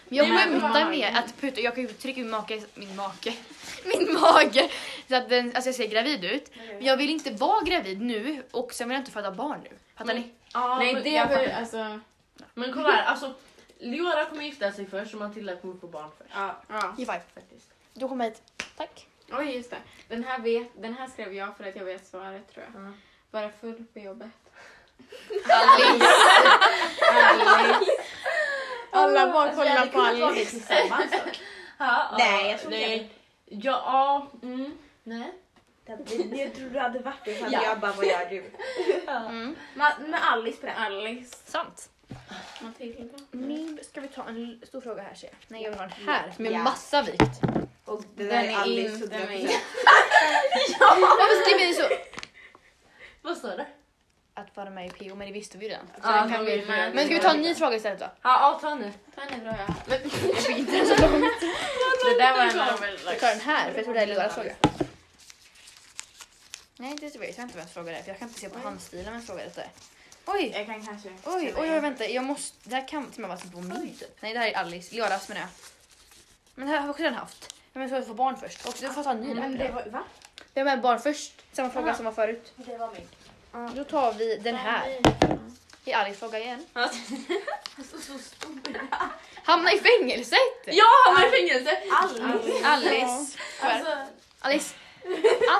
[SPEAKER 1] jag
[SPEAKER 3] Nej, men-
[SPEAKER 1] skämtar med att puta, jag kan ju trycka ut make, min make, [laughs] min mage. Så att den, alltså jag ser gravid ut. Men jag vill inte vara gravid nu och sen vill jag inte föda barn nu. Fattar
[SPEAKER 3] Men-
[SPEAKER 1] ni?
[SPEAKER 3] Ja,
[SPEAKER 4] Nej
[SPEAKER 3] men-
[SPEAKER 4] det
[SPEAKER 3] jag
[SPEAKER 4] är
[SPEAKER 3] fattar.
[SPEAKER 4] alltså...
[SPEAKER 3] Men kolla här, alltså Leora kommer gifta sig först och Matilda kommer få barn först.
[SPEAKER 4] Ja. ja.
[SPEAKER 1] High five.
[SPEAKER 3] Faktiskt.
[SPEAKER 1] Du kommer hit. Tack.
[SPEAKER 4] Oj just det. Den här, vet, den här skrev jag för att jag vet svaret tror jag.
[SPEAKER 3] Ja.
[SPEAKER 4] Vara full på jobbet.
[SPEAKER 1] Alice.
[SPEAKER 4] Ärligt. Alla bara
[SPEAKER 5] Alltså, vi
[SPEAKER 4] kollar
[SPEAKER 5] hade
[SPEAKER 4] på
[SPEAKER 5] kunnat vara
[SPEAKER 4] Alice.
[SPEAKER 5] det tillsammans dock.
[SPEAKER 1] Ah,
[SPEAKER 3] Ja, ja,
[SPEAKER 5] Nej, jag tror inte
[SPEAKER 3] nej. Ja, ja, mm, nej.
[SPEAKER 5] Det hade blivit- [laughs] Jag tror du hade varit det så hade
[SPEAKER 3] Ja.
[SPEAKER 5] jag bara, vad gör du?
[SPEAKER 1] Mm,
[SPEAKER 5] Ma- Med Alice på det.
[SPEAKER 4] Alice.
[SPEAKER 1] sant.
[SPEAKER 4] Matilda.
[SPEAKER 1] Nu Mm. ska vi ta en stor fråga här ser jag. Nej jag vill ha den här med
[SPEAKER 5] Ja.
[SPEAKER 1] massa vikt.
[SPEAKER 5] Och det där
[SPEAKER 4] Den
[SPEAKER 5] är
[SPEAKER 4] är
[SPEAKER 5] Alice.
[SPEAKER 4] in, den är
[SPEAKER 5] 100%.
[SPEAKER 4] in.
[SPEAKER 1] Varför skriver ni så?
[SPEAKER 3] Vad står det?
[SPEAKER 1] Att vara med i PO men det visste vi ju redan.
[SPEAKER 4] Så den kan vi med.
[SPEAKER 1] Men ska vi ta en ny fråga istället då?
[SPEAKER 3] Ja, ja, ta nu.
[SPEAKER 4] Ta en bra ja.
[SPEAKER 1] Jag fick inte den så [laughs] långt.
[SPEAKER 4] Det där var en av de
[SPEAKER 1] Jag tar den här för jag tror det är Leoras fråga. Nej det tror jag inte vem som frågar det är, för jag kan inte se på handstilen vem frågar detta är. Oj!
[SPEAKER 4] Jag kan kanske...
[SPEAKER 1] Oj, oj, oj, vänta. Jag måste, det här kan till och med vara typ på min. typ. Nej, det här är Alice. Leoras menar jag. Men det här har också redan haft. Ja, men så jag får barn först. Och du får ta en ny
[SPEAKER 5] Men det
[SPEAKER 1] där.
[SPEAKER 5] var, va?
[SPEAKER 1] Vem med barn först? Samma fråga som var förut.
[SPEAKER 5] Det var min.
[SPEAKER 1] Då tar vi den här. Det är Alice fråga igen.
[SPEAKER 3] Ja.
[SPEAKER 1] Hamna i fängelset!
[SPEAKER 3] Jag hamnar i Ah, fängelse!
[SPEAKER 5] Alice.
[SPEAKER 1] Alice.
[SPEAKER 3] Alltså,
[SPEAKER 1] Alice.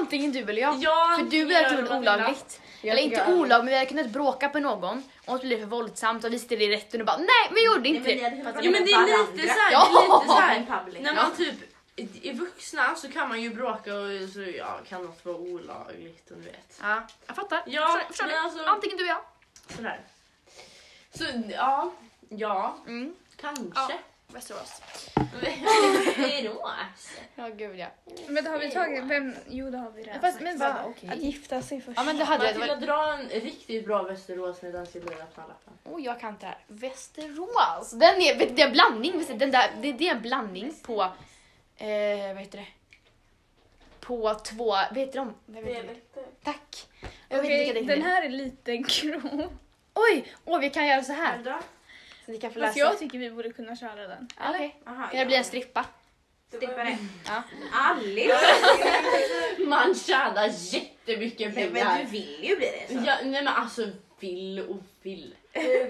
[SPEAKER 1] Antingen du eller jag.
[SPEAKER 3] jag
[SPEAKER 1] För du är
[SPEAKER 3] gör
[SPEAKER 1] troligen
[SPEAKER 3] Matilda.
[SPEAKER 1] olagligt. Eller inte olagligt, men vi hade kunnat bråka på någon och det blev för våldsamt och vi sitter i rätten och bara nej vi gjorde inte det.
[SPEAKER 3] Jo men det är lite såhär, det är
[SPEAKER 1] Ja.
[SPEAKER 3] lite såhär.
[SPEAKER 5] public.
[SPEAKER 3] När man typ är vuxna så kan man ju bråka och så ja, kan något vara olagligt och du vet.
[SPEAKER 1] Ja, jag fattar.
[SPEAKER 3] Ja,
[SPEAKER 1] förstår, förstår
[SPEAKER 3] men
[SPEAKER 1] ni?
[SPEAKER 3] alltså-
[SPEAKER 1] Antingen du eller jag.
[SPEAKER 3] Sådär. Så ja, ja,
[SPEAKER 1] Mm.
[SPEAKER 3] kanske.
[SPEAKER 1] Västerås.
[SPEAKER 3] [laughs] Västerås.
[SPEAKER 1] Ja gud ja.
[SPEAKER 2] Men då har vi tagit vem? Jo det har vi redan.
[SPEAKER 1] Fast, men, va?
[SPEAKER 2] Att gifta sig först.
[SPEAKER 1] Ja men det hade jag. Det
[SPEAKER 3] Matilda,
[SPEAKER 1] var...
[SPEAKER 3] dra en riktigt bra Västerås medan Silvia öppnar lappen.
[SPEAKER 1] Oh, jag kan inte det här. Västerås. Den är, vet du, det är en blandning. Visst, Den där, det, det är en blandning på, eh, vad heter det? På två, vad heter de? Vad heter det? Tack. Jag vet
[SPEAKER 2] Okej,
[SPEAKER 1] inte vilka det
[SPEAKER 2] den
[SPEAKER 1] är.
[SPEAKER 2] här är lite grov.
[SPEAKER 1] Oj, åh vi kan göra så här. Så ni kan få
[SPEAKER 2] Fast
[SPEAKER 1] läsa.
[SPEAKER 2] jag tycker vi borde kunna köra den.
[SPEAKER 1] Ja, Okej. Kan jag bli en strippa?
[SPEAKER 5] Stippare.
[SPEAKER 1] Ja.
[SPEAKER 5] Alice!
[SPEAKER 3] Man tjänar jättemycket
[SPEAKER 5] Nej,
[SPEAKER 3] pengar.
[SPEAKER 5] men du vill ju bli det. Så.
[SPEAKER 3] ja, nej men alltså vill och vill.
[SPEAKER 5] Du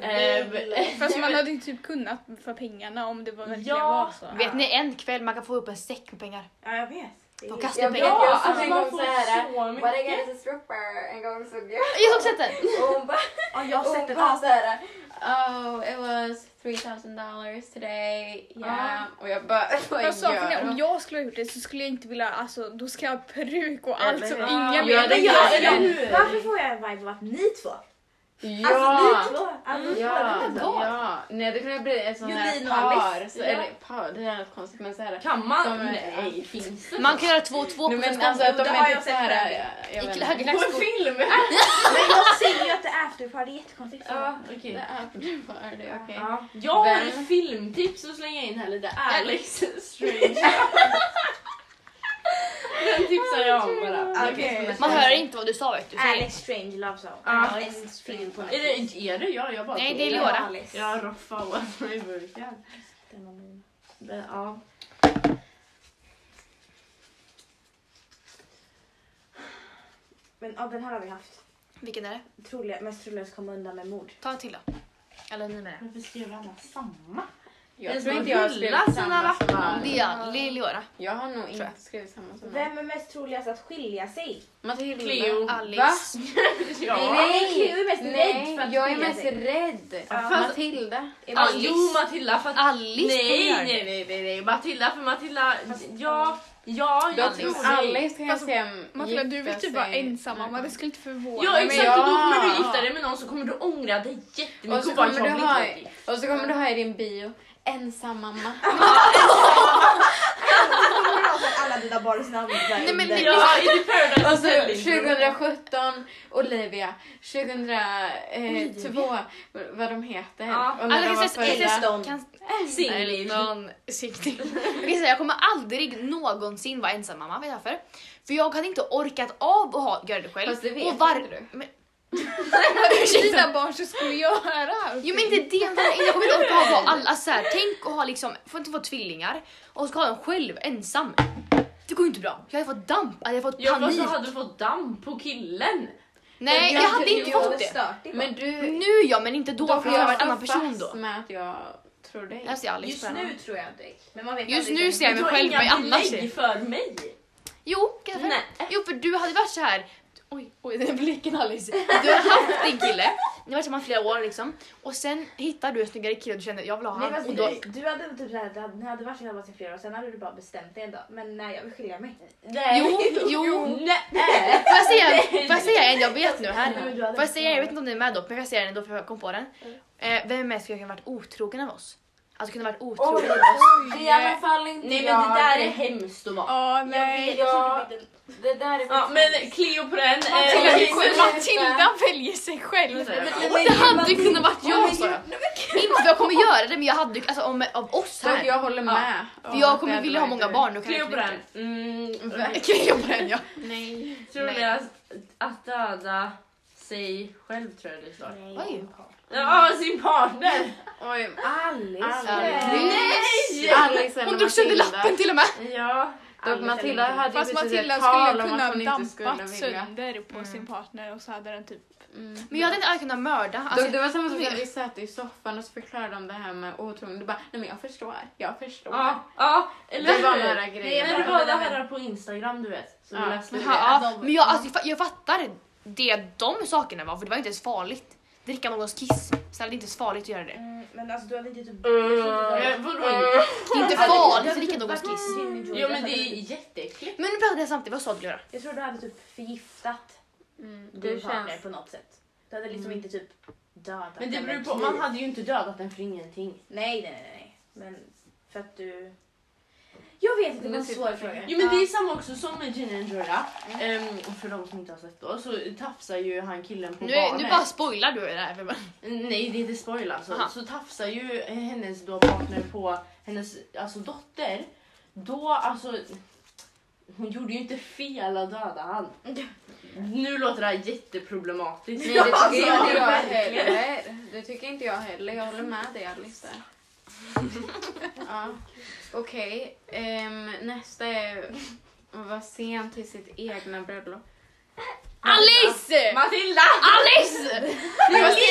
[SPEAKER 5] vill.
[SPEAKER 3] Ehm,
[SPEAKER 2] Fast man hade ju typ kunnat för pengarna om det var verkligen
[SPEAKER 3] Ja.
[SPEAKER 2] var så.
[SPEAKER 1] Vet ni en kväll man kan få upp en säck med pengar?
[SPEAKER 5] Ja, jag vet. Det
[SPEAKER 1] De
[SPEAKER 5] är-
[SPEAKER 1] kastar
[SPEAKER 4] Jag vet,
[SPEAKER 1] pengar.
[SPEAKER 3] Ja,
[SPEAKER 4] jag såg
[SPEAKER 3] alltså,
[SPEAKER 4] en
[SPEAKER 3] man
[SPEAKER 4] gång
[SPEAKER 3] får
[SPEAKER 4] såhär,
[SPEAKER 3] så mycket.
[SPEAKER 4] what I get is a stripper en gång såg jag.
[SPEAKER 1] Jag har också sett den!
[SPEAKER 4] Och hon bara,
[SPEAKER 5] Ja, jag har
[SPEAKER 4] och
[SPEAKER 5] sett
[SPEAKER 4] hon
[SPEAKER 5] den.
[SPEAKER 4] bara såhär, oh it was 3000 dollars today, yeah. Och jag bara, vad
[SPEAKER 2] Fast saken
[SPEAKER 4] gör
[SPEAKER 2] är, om
[SPEAKER 4] hon?
[SPEAKER 2] jag skulle ha gjort det så skulle jag inte vilja, alltså då ska jag ha peruk och allt
[SPEAKER 4] Eller
[SPEAKER 2] som
[SPEAKER 4] hur?
[SPEAKER 2] ingen
[SPEAKER 4] Ja,
[SPEAKER 2] vill.
[SPEAKER 4] det
[SPEAKER 5] Men
[SPEAKER 4] gör
[SPEAKER 5] jag,
[SPEAKER 4] jag.
[SPEAKER 5] jag, varför får jag en vibe av att ni två?
[SPEAKER 4] Ja!
[SPEAKER 5] Alltså ni två! Alltså,
[SPEAKER 4] Ja,
[SPEAKER 5] båda.
[SPEAKER 4] ja. Nej det kunde bli ett sånt här
[SPEAKER 5] Julin och Alice.
[SPEAKER 4] par. Så,
[SPEAKER 5] Ja.
[SPEAKER 4] eller par, det är något konstigt men såhär.
[SPEAKER 3] Kan man?
[SPEAKER 4] De är-
[SPEAKER 3] nej, finns det?
[SPEAKER 1] Man kan göra två och två
[SPEAKER 4] Nej
[SPEAKER 1] på en
[SPEAKER 4] men alltså att de
[SPEAKER 5] det har
[SPEAKER 4] är
[SPEAKER 5] jag
[SPEAKER 4] typ
[SPEAKER 5] sett
[SPEAKER 4] såhär.
[SPEAKER 5] själv.
[SPEAKER 4] jag- jag vet
[SPEAKER 1] I
[SPEAKER 4] inte.
[SPEAKER 3] På en
[SPEAKER 1] högklackskor.
[SPEAKER 3] film?
[SPEAKER 5] Men jag säger ju att det är afterparty, det är jättekonstigt.
[SPEAKER 4] Ja,
[SPEAKER 3] Okej.
[SPEAKER 4] det är [laughs] för det, okej.
[SPEAKER 3] Ja. Jag har
[SPEAKER 4] Vem?
[SPEAKER 3] ett filmtips att slänga in här lite. Alex Strange. Den tipsar jag om bara.
[SPEAKER 5] Okej.
[SPEAKER 1] Man hör inte vad du sa vet du. Så-
[SPEAKER 5] Alice Strange Love Song.
[SPEAKER 3] Ja.
[SPEAKER 5] Alice Strange på
[SPEAKER 3] Är det, är det jag? Jag bara
[SPEAKER 1] Nej,
[SPEAKER 3] tror
[SPEAKER 1] det är
[SPEAKER 5] Ja,
[SPEAKER 1] Leora.
[SPEAKER 5] Alice.
[SPEAKER 3] Jag roffar åt mig i burken.
[SPEAKER 5] Den var min.
[SPEAKER 3] Men, ja.
[SPEAKER 5] Men ja, den här har vi haft.
[SPEAKER 1] Vilken är det?
[SPEAKER 5] Troliga, mest troligen komma undan med mord.
[SPEAKER 1] Ta en till då. Eller ni menar
[SPEAKER 3] Varför skrev alla
[SPEAKER 1] [laughs]
[SPEAKER 3] samma?
[SPEAKER 4] Jag
[SPEAKER 3] Den
[SPEAKER 4] tror
[SPEAKER 3] som
[SPEAKER 4] inte jag har
[SPEAKER 3] rullar
[SPEAKER 4] skrivit samma
[SPEAKER 3] sina
[SPEAKER 4] som
[SPEAKER 3] lappar.
[SPEAKER 4] Alice.
[SPEAKER 1] jag. Lea Leora.
[SPEAKER 4] Jag har nog
[SPEAKER 1] Tror
[SPEAKER 4] inte skrivit samma som Alice.
[SPEAKER 5] Mm. Vem är mest troligast att skilja sig?
[SPEAKER 4] Matilda.
[SPEAKER 3] Cleo.
[SPEAKER 4] Va?
[SPEAKER 1] Alice.
[SPEAKER 3] Ja.
[SPEAKER 5] Nej, Cleo är mest rädd för
[SPEAKER 4] Nej,
[SPEAKER 5] att
[SPEAKER 4] jag är
[SPEAKER 5] skilja
[SPEAKER 4] mest
[SPEAKER 5] sig.
[SPEAKER 4] rädd.
[SPEAKER 5] Ja.
[SPEAKER 4] Matilda.
[SPEAKER 3] Ja, jo
[SPEAKER 5] [laughs]
[SPEAKER 3] Matilda för att...
[SPEAKER 1] Alice kommer
[SPEAKER 3] nej,
[SPEAKER 1] göra
[SPEAKER 3] nej, nej, nej, nej. Matilda för Matilda. Ja, ja, jag
[SPEAKER 4] Jag
[SPEAKER 1] Alice.
[SPEAKER 4] tror
[SPEAKER 3] tror
[SPEAKER 4] Alice kan jag
[SPEAKER 2] Fast
[SPEAKER 4] se
[SPEAKER 2] Matilda du vill
[SPEAKER 4] gifta
[SPEAKER 2] typ vara
[SPEAKER 4] sig.
[SPEAKER 2] ensam mamma, det skulle inte förvåna
[SPEAKER 3] Ja
[SPEAKER 2] mig.
[SPEAKER 3] exakt,
[SPEAKER 4] ja.
[SPEAKER 3] och då kommer du gifta dig med någon så kommer du ångra dig jättemycket.
[SPEAKER 4] Och så
[SPEAKER 3] bara,
[SPEAKER 4] kommer du
[SPEAKER 3] jag vill
[SPEAKER 4] ha,
[SPEAKER 3] inte bli gift.
[SPEAKER 4] och så kommer du ha i din bio, ensam mamma.
[SPEAKER 5] sen alla dina barns namn där
[SPEAKER 1] Nej, men
[SPEAKER 5] under.
[SPEAKER 1] det-
[SPEAKER 3] Ja, i
[SPEAKER 4] [laughs]
[SPEAKER 3] Paradise
[SPEAKER 4] Alltså
[SPEAKER 3] Hotel.
[SPEAKER 4] 2017, Olivia. 2002, v- vad de heter.
[SPEAKER 5] Ja.
[SPEAKER 4] Och när
[SPEAKER 1] Alla
[SPEAKER 4] de
[SPEAKER 1] kan
[SPEAKER 4] var
[SPEAKER 1] säga
[SPEAKER 5] födda.
[SPEAKER 1] jag
[SPEAKER 5] Stone.
[SPEAKER 1] kan- kan-
[SPEAKER 3] Singel.
[SPEAKER 1] någon [laughs] siktig. Jag kan säga, jag kommer aldrig någonsin vara ensam mamma, vet jag varför? För jag hade inte orkat av att ha, göra det själv.
[SPEAKER 4] Fast det vet
[SPEAKER 1] och var-
[SPEAKER 4] inte du.
[SPEAKER 1] Men,
[SPEAKER 2] Dina barn så skulle göra allt.
[SPEAKER 1] jo men inte det, jag menar, jag kommer inte orka ha på alla så här. Tänk att ha liksom, får inte få tvillingar och ska ha dem själv ensam. Det går ju inte bra. Jag hade fått damp, jag hade fått
[SPEAKER 3] Jag bara, så
[SPEAKER 1] panik.
[SPEAKER 3] hade du fått damm på killen.
[SPEAKER 1] Nej jag hade inte
[SPEAKER 4] jag-
[SPEAKER 1] fått det.
[SPEAKER 4] Men du,
[SPEAKER 1] Nu ja men inte då för jag var en
[SPEAKER 4] står
[SPEAKER 1] annan person
[SPEAKER 4] fast
[SPEAKER 1] då.
[SPEAKER 4] med att jag tror dig.
[SPEAKER 1] Jag ser Alice på henne.
[SPEAKER 5] tror jag dig. Men man vet
[SPEAKER 1] Just
[SPEAKER 5] aldrig.
[SPEAKER 1] nu ser jag
[SPEAKER 3] Du
[SPEAKER 1] mig
[SPEAKER 3] har
[SPEAKER 1] själv
[SPEAKER 3] inga
[SPEAKER 1] med annars.
[SPEAKER 3] belägg för mig.
[SPEAKER 1] Jo, kanske.
[SPEAKER 3] Nej.
[SPEAKER 1] Jo, för du hade varit så här. Oj, oj, den där blicken Alice. Du har haft din kille, ni har varit tillsammans flera år liksom. Och sen hittar du en snyggare kille och du känner jag vill ha
[SPEAKER 5] Nej,
[SPEAKER 1] han.
[SPEAKER 5] fast
[SPEAKER 1] och då,
[SPEAKER 5] du, du hade väl typ såhär, du hade, ni hade varit tillsammans i flera år sen hade du bara bestämt dig en dag. Men nej jag vill skilja mig.
[SPEAKER 3] Nej.
[SPEAKER 1] Jo, jo.
[SPEAKER 3] Nej.
[SPEAKER 1] Får jag säga, får jag säga en? Jag vet nu här.
[SPEAKER 5] Nej, du hade
[SPEAKER 1] Får jag säga, jag
[SPEAKER 5] inte
[SPEAKER 1] vet inte om ni är med då, men jag säger den ändå för jag kom på den. Eh, vem är med skulle kunna varit otrogen av oss? Alltså kunna varit otrogen av oss.
[SPEAKER 4] I alla fall inte
[SPEAKER 3] Nej men
[SPEAKER 4] jag.
[SPEAKER 3] det där är hemskt att vara.
[SPEAKER 2] Ja,
[SPEAKER 4] Jag vet,
[SPEAKER 2] nej.
[SPEAKER 4] ja,
[SPEAKER 5] typ
[SPEAKER 4] det där är
[SPEAKER 3] Ja, men Cleo på den. eh,
[SPEAKER 4] till och med
[SPEAKER 3] Lisa-
[SPEAKER 4] själv.
[SPEAKER 2] Matilda väljer sig själv.
[SPEAKER 1] Det hade ju kunnat varit jag sa jag. Inte för jag kommer göra det men jag hade ju, alltså om, av oss
[SPEAKER 4] Så att
[SPEAKER 1] här.
[SPEAKER 4] jag håller med.
[SPEAKER 1] För jag kommer vilja ha många barn. då kan jag
[SPEAKER 3] Cleo på
[SPEAKER 1] inte
[SPEAKER 3] den.
[SPEAKER 1] lyckas.
[SPEAKER 3] Mm,
[SPEAKER 1] Cleo på den ja.
[SPEAKER 4] Nej.
[SPEAKER 3] tror
[SPEAKER 1] Nej.
[SPEAKER 3] ni att, att döda sig själv tror jag det står.
[SPEAKER 1] Oj.
[SPEAKER 3] Ja, ah, sin partner.
[SPEAKER 4] Oj.
[SPEAKER 5] Alice.
[SPEAKER 1] Nej!
[SPEAKER 4] Alice eller
[SPEAKER 1] Hon drog sönder
[SPEAKER 4] Matilda.
[SPEAKER 1] lappen till och med.
[SPEAKER 3] Ja.
[SPEAKER 4] Dock Matilda hade ju
[SPEAKER 2] Fast
[SPEAKER 4] precis
[SPEAKER 2] Matilda
[SPEAKER 4] ett tal
[SPEAKER 2] skulle
[SPEAKER 4] om
[SPEAKER 2] kunna
[SPEAKER 4] att hon inte
[SPEAKER 2] dampat
[SPEAKER 4] skulle vilja.
[SPEAKER 2] sönder på sin partner och så hade den typ...
[SPEAKER 4] Mm.
[SPEAKER 1] Men jag hade inte aldrig kunnat mörda. Alltså,
[SPEAKER 4] Dock, det var samma sak när vi satt i soffan och så förklarade de det här med otrogen. Du bara, nej men jag förstår, jag förstår. [laughs]
[SPEAKER 3] Ja, ja, eller
[SPEAKER 4] Det var
[SPEAKER 3] hur?
[SPEAKER 4] några
[SPEAKER 3] Nej,
[SPEAKER 4] grejer.
[SPEAKER 3] När det var alla herrar på Instagram du vet. Som
[SPEAKER 4] Ja.
[SPEAKER 3] läste det.
[SPEAKER 1] ja, ja. men jag, alltså, jag fa- jag fattar det de sakerna var för det var ju inte ens farligt. Dricka någons kiss, sen är det inte ens farligt att göra det.
[SPEAKER 5] Mm, men alltså du hade inte typ...
[SPEAKER 1] Mm.
[SPEAKER 3] Eh, Vadå?
[SPEAKER 1] Det är inte
[SPEAKER 5] Hade-
[SPEAKER 1] farligt
[SPEAKER 5] hade
[SPEAKER 1] att dricka
[SPEAKER 5] typ
[SPEAKER 1] någons
[SPEAKER 5] varit
[SPEAKER 1] kiss.
[SPEAKER 5] Jimmy George,
[SPEAKER 3] Jo men
[SPEAKER 5] hade
[SPEAKER 3] det är
[SPEAKER 5] du-
[SPEAKER 3] jätteäckligt.
[SPEAKER 1] Men nu pratade jag samtidigt, vad sa du Glora?
[SPEAKER 5] Jag tror du hade typ förgiftat
[SPEAKER 4] Mm,
[SPEAKER 5] din
[SPEAKER 4] det
[SPEAKER 5] partner
[SPEAKER 4] känns...
[SPEAKER 5] på något sätt. Du hade liksom inte typ dödat
[SPEAKER 3] Men det
[SPEAKER 5] eller
[SPEAKER 3] beror på, man hade ju inte dödat den för ingenting.
[SPEAKER 5] Nej, nej, nej, nej. Men för att du... Jag vet inte, det var en svår fråga.
[SPEAKER 3] Jo men det är samma också som med Gina and Jorda. Ehm, och för de som inte har sett då så tafsar ju han killen på
[SPEAKER 1] Nu, är-
[SPEAKER 3] barnet.
[SPEAKER 1] nu bara spoilar du det här. för mig.
[SPEAKER 3] Nej det är inte spoil alltså.
[SPEAKER 1] Aha.
[SPEAKER 3] Så tafsar ju hennes då partner på hennes alltså, dotter. Då alltså. Hon gjorde ju inte fel att döda han. Nu låter det här jätteproblematiskt.
[SPEAKER 4] Nej det tycker
[SPEAKER 3] Alltså, [laughs]
[SPEAKER 4] inte jag
[SPEAKER 3] verkligen.
[SPEAKER 4] heller. Det tycker inte jag heller. Jag håller med dig Alice där. [laughs] Ja. Okej, ehm, nästa är att vara sen till sitt egna bröllop.
[SPEAKER 1] Alice!
[SPEAKER 3] Alltså, Matilda!
[SPEAKER 1] Alice!
[SPEAKER 3] alltså,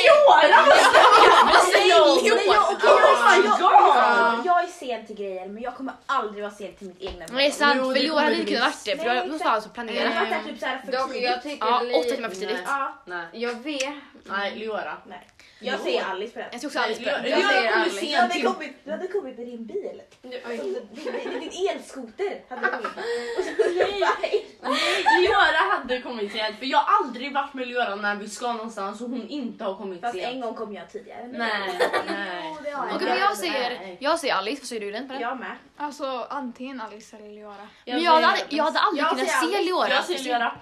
[SPEAKER 1] Vad säger Johan?
[SPEAKER 3] Oh my god!
[SPEAKER 4] Ja.
[SPEAKER 5] Jag är sen till grejer, men jag kommer aldrig vara sen till mitt egna
[SPEAKER 1] Men det är sant,
[SPEAKER 3] Jo,
[SPEAKER 1] för
[SPEAKER 3] det
[SPEAKER 1] Johan hade inte
[SPEAKER 3] kommer
[SPEAKER 1] kunnat varit det för
[SPEAKER 5] bli-
[SPEAKER 1] jag
[SPEAKER 5] Nej,
[SPEAKER 1] någonstans att
[SPEAKER 5] Jag
[SPEAKER 1] planera.
[SPEAKER 5] fattar typ såhär för
[SPEAKER 4] Dock, jag
[SPEAKER 5] tidigt.
[SPEAKER 4] tycker
[SPEAKER 1] Ja,
[SPEAKER 4] det blir-
[SPEAKER 1] åtta timmar för tidigt.
[SPEAKER 5] Ja,
[SPEAKER 3] Nej,
[SPEAKER 4] Jag vet.
[SPEAKER 3] nej Leora.
[SPEAKER 5] nej. Jag säger Alice på den.
[SPEAKER 1] Jag ska också Alice på den.
[SPEAKER 4] Jag säger
[SPEAKER 3] Leora kommer
[SPEAKER 4] Alice.
[SPEAKER 5] Du
[SPEAKER 3] sent
[SPEAKER 5] hade,
[SPEAKER 3] till... [laughs]
[SPEAKER 5] kommit, du hade kommit med din bil. Alltså,
[SPEAKER 4] Oj.
[SPEAKER 5] Din, din, din elskoter hade du kommit med. Och så-
[SPEAKER 3] Leora hade kommit sent för jag har aldrig varit med Leora när vi ska någonstans och hon inte har kommit
[SPEAKER 5] Fast en
[SPEAKER 3] sent.
[SPEAKER 5] gång kom jag tidigare.
[SPEAKER 3] Nej, nej.
[SPEAKER 5] [laughs] Jo, det har jag.
[SPEAKER 1] Okej men jag säger, jag säger Alice, vad säger du den på den?
[SPEAKER 5] Jag med.
[SPEAKER 2] Alltså antingen Alice eller Leora.
[SPEAKER 1] Men jag hade, aldrig- jag hade aldrig
[SPEAKER 5] Jag
[SPEAKER 1] kunnat
[SPEAKER 5] säger
[SPEAKER 1] se
[SPEAKER 5] Alice.
[SPEAKER 1] Leora.
[SPEAKER 3] Jag säger Leora.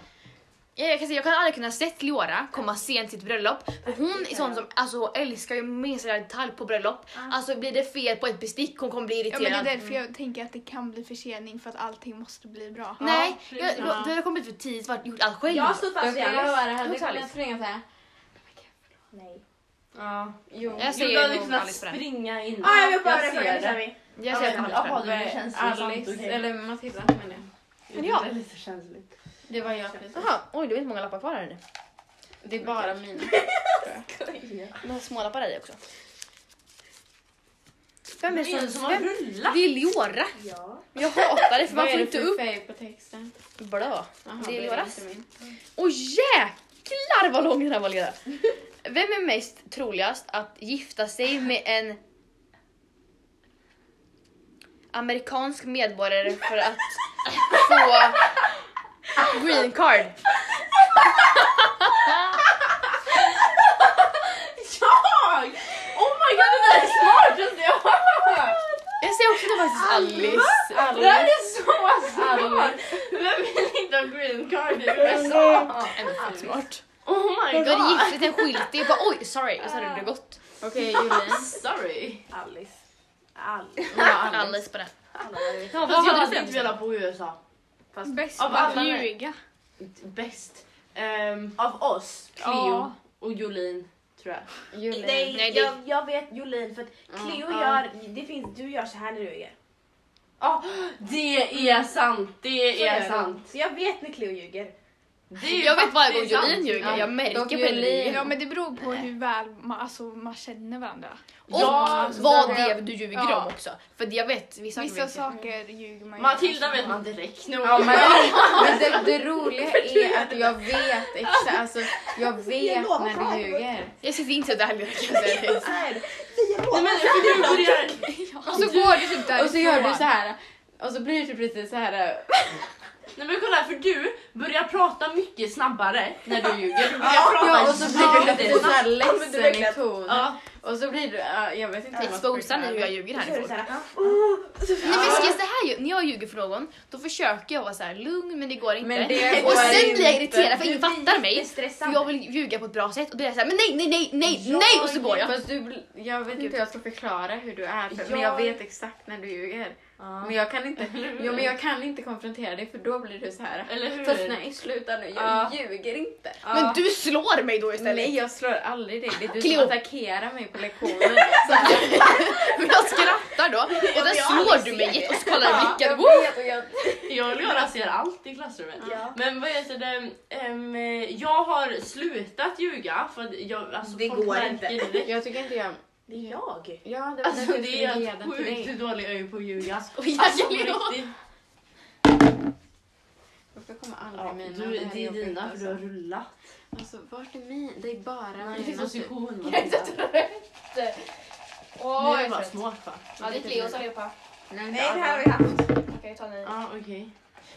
[SPEAKER 1] Ja, Jag kan säga, jag kan aldrig kunna sett Leora komma sent till ett bröllop. För hon är sån som alltså, älskar ju minsta detalj på bröllop. Alltså blir det fel på ett bestick hon kommer bli
[SPEAKER 2] Ja,
[SPEAKER 1] irriterad.
[SPEAKER 2] men det är därför
[SPEAKER 4] Mm.
[SPEAKER 2] jag tänker att det kan bli försening för att allting måste bli bra.
[SPEAKER 1] Nej,
[SPEAKER 3] Ja,
[SPEAKER 1] jag,
[SPEAKER 3] precis.
[SPEAKER 1] du hade kommit för tidigt varit gjort allt själv.
[SPEAKER 5] Jag stod
[SPEAKER 4] Jag
[SPEAKER 5] fast vid
[SPEAKER 4] kan
[SPEAKER 5] Alice.
[SPEAKER 4] lova det, hade
[SPEAKER 1] Jag tar
[SPEAKER 4] kunnat
[SPEAKER 1] Alice.
[SPEAKER 4] springa såhär.
[SPEAKER 5] Nej.
[SPEAKER 3] Ja.
[SPEAKER 4] Jo.
[SPEAKER 1] Jag
[SPEAKER 3] Jo, du
[SPEAKER 1] säger
[SPEAKER 3] hade
[SPEAKER 1] nog
[SPEAKER 3] kunnat
[SPEAKER 1] Alice på den.
[SPEAKER 3] springa in.
[SPEAKER 5] Ah, jag vill bara
[SPEAKER 3] ser
[SPEAKER 5] fråga, nu kör
[SPEAKER 3] det.
[SPEAKER 5] vi.
[SPEAKER 1] Jag säger
[SPEAKER 3] men-
[SPEAKER 1] Alice på den.
[SPEAKER 3] jaha, det känns sant,
[SPEAKER 4] Alice,
[SPEAKER 3] okej.
[SPEAKER 4] eller Matilda menar jag.
[SPEAKER 1] Men ja.
[SPEAKER 3] Det är lite känsligt.
[SPEAKER 4] Det var jag precis.
[SPEAKER 1] Jaha, oj det är inte många lappar kvar här nu.
[SPEAKER 4] Det är bara mina.
[SPEAKER 1] Några små lappar i också. Vem är
[SPEAKER 3] Det är
[SPEAKER 1] det
[SPEAKER 3] en
[SPEAKER 1] som...
[SPEAKER 3] som har
[SPEAKER 1] Vem?
[SPEAKER 3] rullat.
[SPEAKER 1] Det är Leora.
[SPEAKER 5] Ja.
[SPEAKER 1] Jag hatar det för man
[SPEAKER 4] Vad
[SPEAKER 1] får
[SPEAKER 4] är det
[SPEAKER 1] inte
[SPEAKER 4] för
[SPEAKER 1] upp
[SPEAKER 4] färg på texten?
[SPEAKER 1] blå.
[SPEAKER 4] Jaha,
[SPEAKER 1] Det är
[SPEAKER 4] inte
[SPEAKER 1] Leoras.
[SPEAKER 4] min.
[SPEAKER 1] Och jäklar vad lång den här var Lena. Vem är mest troligast att gifta sig med en amerikansk medborgare för att få green card?
[SPEAKER 3] Jag! Oh my god, det där är smartaste jag har hört!
[SPEAKER 1] Jag säger också då faktiskt Alice.
[SPEAKER 3] Det här är så Alla. Vem vill inte ha green card i USA?
[SPEAKER 1] Ändå fett smart.
[SPEAKER 3] Oh my
[SPEAKER 1] Du
[SPEAKER 3] god.
[SPEAKER 1] hade gift dig till en skyldig och bara oj sorry och så hade du gått.
[SPEAKER 4] Okej, [laughs] Julin.
[SPEAKER 3] Sorry.
[SPEAKER 5] Alice. Alice.
[SPEAKER 4] Ja, Alice.
[SPEAKER 1] Alice på den.
[SPEAKER 5] Alla var ju-
[SPEAKER 1] Ja, vad
[SPEAKER 3] Fast jag hade
[SPEAKER 1] gjorde
[SPEAKER 3] inte
[SPEAKER 1] du för
[SPEAKER 3] velat bo i USA.
[SPEAKER 2] Bäst
[SPEAKER 3] Av
[SPEAKER 2] på att
[SPEAKER 3] alla-
[SPEAKER 2] ljuga.
[SPEAKER 3] Bäst. Ehm, av oss, Cleo
[SPEAKER 2] Ja.
[SPEAKER 3] och Jolin, tror jag.
[SPEAKER 4] Julin.
[SPEAKER 5] Nej,
[SPEAKER 1] Nej, det-
[SPEAKER 5] jag, jag vet Jolin för att Cleo
[SPEAKER 4] ja.
[SPEAKER 5] gör, det finns, du gör så här när du ljuger.
[SPEAKER 3] Ja, det
[SPEAKER 1] Mm.
[SPEAKER 3] är sant, det
[SPEAKER 5] Så
[SPEAKER 3] är
[SPEAKER 5] gör du.
[SPEAKER 3] sant.
[SPEAKER 5] Så jag vet när Cleo ljuger.
[SPEAKER 3] Det är
[SPEAKER 1] Jag vet varje gång
[SPEAKER 3] faktiskt sant.
[SPEAKER 1] Jolin ljuger,
[SPEAKER 4] Ja,
[SPEAKER 1] jag märker
[SPEAKER 4] dock
[SPEAKER 1] på henne.
[SPEAKER 4] Jolin.
[SPEAKER 1] ljuger.
[SPEAKER 2] Ja men det beror på hur väl man, alltså, man känner varandra.
[SPEAKER 1] Och
[SPEAKER 3] Ja, så
[SPEAKER 1] vad
[SPEAKER 3] där
[SPEAKER 1] det
[SPEAKER 3] har
[SPEAKER 1] är
[SPEAKER 3] jag-
[SPEAKER 1] du ljuger
[SPEAKER 2] Ja.
[SPEAKER 1] om också. För jag vet vissa saker
[SPEAKER 2] Vissa
[SPEAKER 1] vet jag.
[SPEAKER 2] saker ljuger man ju.
[SPEAKER 3] Matilda vet man direkt nu.
[SPEAKER 4] Ja, men, [laughs] men det, det roliga är att jag vet exakt, alltså jag vet
[SPEAKER 5] lovar
[SPEAKER 4] när du
[SPEAKER 5] själv.
[SPEAKER 4] ljuger.
[SPEAKER 1] Jag sitter inte där kan jag säga dig.
[SPEAKER 5] Så här är det. Säger
[SPEAKER 3] Nej, [laughs]
[SPEAKER 5] jag.
[SPEAKER 3] men för du börjar...
[SPEAKER 2] Och så går du typ därifrån.
[SPEAKER 4] Och så gör du så här och så blir det typ lite så här.
[SPEAKER 3] Nej men kolla, för du börjar prata mycket snabbare när du ljuger. Du börjar prata
[SPEAKER 4] Ja, och så blir du lite så här
[SPEAKER 5] men du
[SPEAKER 4] ledsen
[SPEAKER 5] verkligen-
[SPEAKER 4] i ton.
[SPEAKER 3] Ja,
[SPEAKER 4] Och så blir du, ja, jag vet inte hur man ska
[SPEAKER 1] Exposar ni hur jag
[SPEAKER 4] förklara.
[SPEAKER 1] ljuger
[SPEAKER 5] Så gör du
[SPEAKER 1] här?
[SPEAKER 5] så här. oh, så-
[SPEAKER 1] Nej men ska det här ju- när jag ljuger för någon då försöker jag vara så här lugn men det går inte.
[SPEAKER 4] Men det
[SPEAKER 1] och
[SPEAKER 4] går
[SPEAKER 1] sen
[SPEAKER 4] inte.
[SPEAKER 1] blir jag irriterad för ingen
[SPEAKER 5] Det blir
[SPEAKER 1] fattar mig. För
[SPEAKER 5] jättestressande.
[SPEAKER 1] jag vill ljuga på ett bra sätt och då är jag såhär men nej nej nej nej nej och så går jag.
[SPEAKER 4] Fast du, bl- jag vet inte hur jag ska förklara hur du är, för, men jag
[SPEAKER 5] Jag-
[SPEAKER 4] vet exakt när du ljuger. Men jag kan inte, jo, men jag kan inte konfrontera dig för då blir du så här.
[SPEAKER 3] eller hur?
[SPEAKER 4] Fast nej, sluta nu, jag
[SPEAKER 3] Ja.
[SPEAKER 4] ljuger inte.
[SPEAKER 1] Men du slår mig då istället.
[SPEAKER 4] Nej, jag slår aldrig dig. Det är du
[SPEAKER 1] Cleo.
[SPEAKER 4] som attackerar mig på
[SPEAKER 3] [laughs]
[SPEAKER 4] lektionen. Så här.
[SPEAKER 1] Men jag skrattar då och sen
[SPEAKER 5] jag
[SPEAKER 1] slår
[SPEAKER 5] aldrig
[SPEAKER 1] du
[SPEAKER 5] ser
[SPEAKER 1] mig och så kollar jag i
[SPEAKER 4] Jag
[SPEAKER 1] blicken. Woo!
[SPEAKER 4] vet och jag...
[SPEAKER 3] Jag och Leora ser allt i klassrummet.
[SPEAKER 5] Ja.
[SPEAKER 3] Men vad heter det, ehm, jag har slutat ljuga för att jag, alltså,
[SPEAKER 5] Det
[SPEAKER 3] folk
[SPEAKER 5] går
[SPEAKER 3] märker
[SPEAKER 5] inte.
[SPEAKER 3] det direkt.
[SPEAKER 4] Jag tycker inte jag...
[SPEAKER 5] Det är jag.
[SPEAKER 4] Ja, det var
[SPEAKER 3] Alltså
[SPEAKER 4] därför jag
[SPEAKER 3] det är
[SPEAKER 4] skulle ge
[SPEAKER 3] helt
[SPEAKER 4] den till
[SPEAKER 3] sjukt
[SPEAKER 4] dig.
[SPEAKER 3] hur dålig jag är på att ljuga. Alltså,
[SPEAKER 1] Skojar
[SPEAKER 3] på
[SPEAKER 1] Leo?
[SPEAKER 3] riktigt.
[SPEAKER 4] Varför kommer aldrig
[SPEAKER 3] Ja,
[SPEAKER 4] mina?
[SPEAKER 3] du,
[SPEAKER 4] här
[SPEAKER 3] det är
[SPEAKER 4] jobbigt,
[SPEAKER 3] dina för du har
[SPEAKER 4] alltså.
[SPEAKER 3] rullat.
[SPEAKER 4] Alltså, vart är min? Det är bara
[SPEAKER 3] Det finns
[SPEAKER 4] mina. typ.
[SPEAKER 3] position.
[SPEAKER 1] Jag är så trött.
[SPEAKER 3] Nu
[SPEAKER 1] Åh,
[SPEAKER 3] är
[SPEAKER 1] jag
[SPEAKER 3] det
[SPEAKER 1] är
[SPEAKER 3] bara
[SPEAKER 1] trött.
[SPEAKER 3] smart va?
[SPEAKER 1] Ja, det är Cleo som repar.
[SPEAKER 4] Nej,
[SPEAKER 5] Nej, det här har vi haft.
[SPEAKER 1] Okej, ta ni.
[SPEAKER 3] Ja, okej.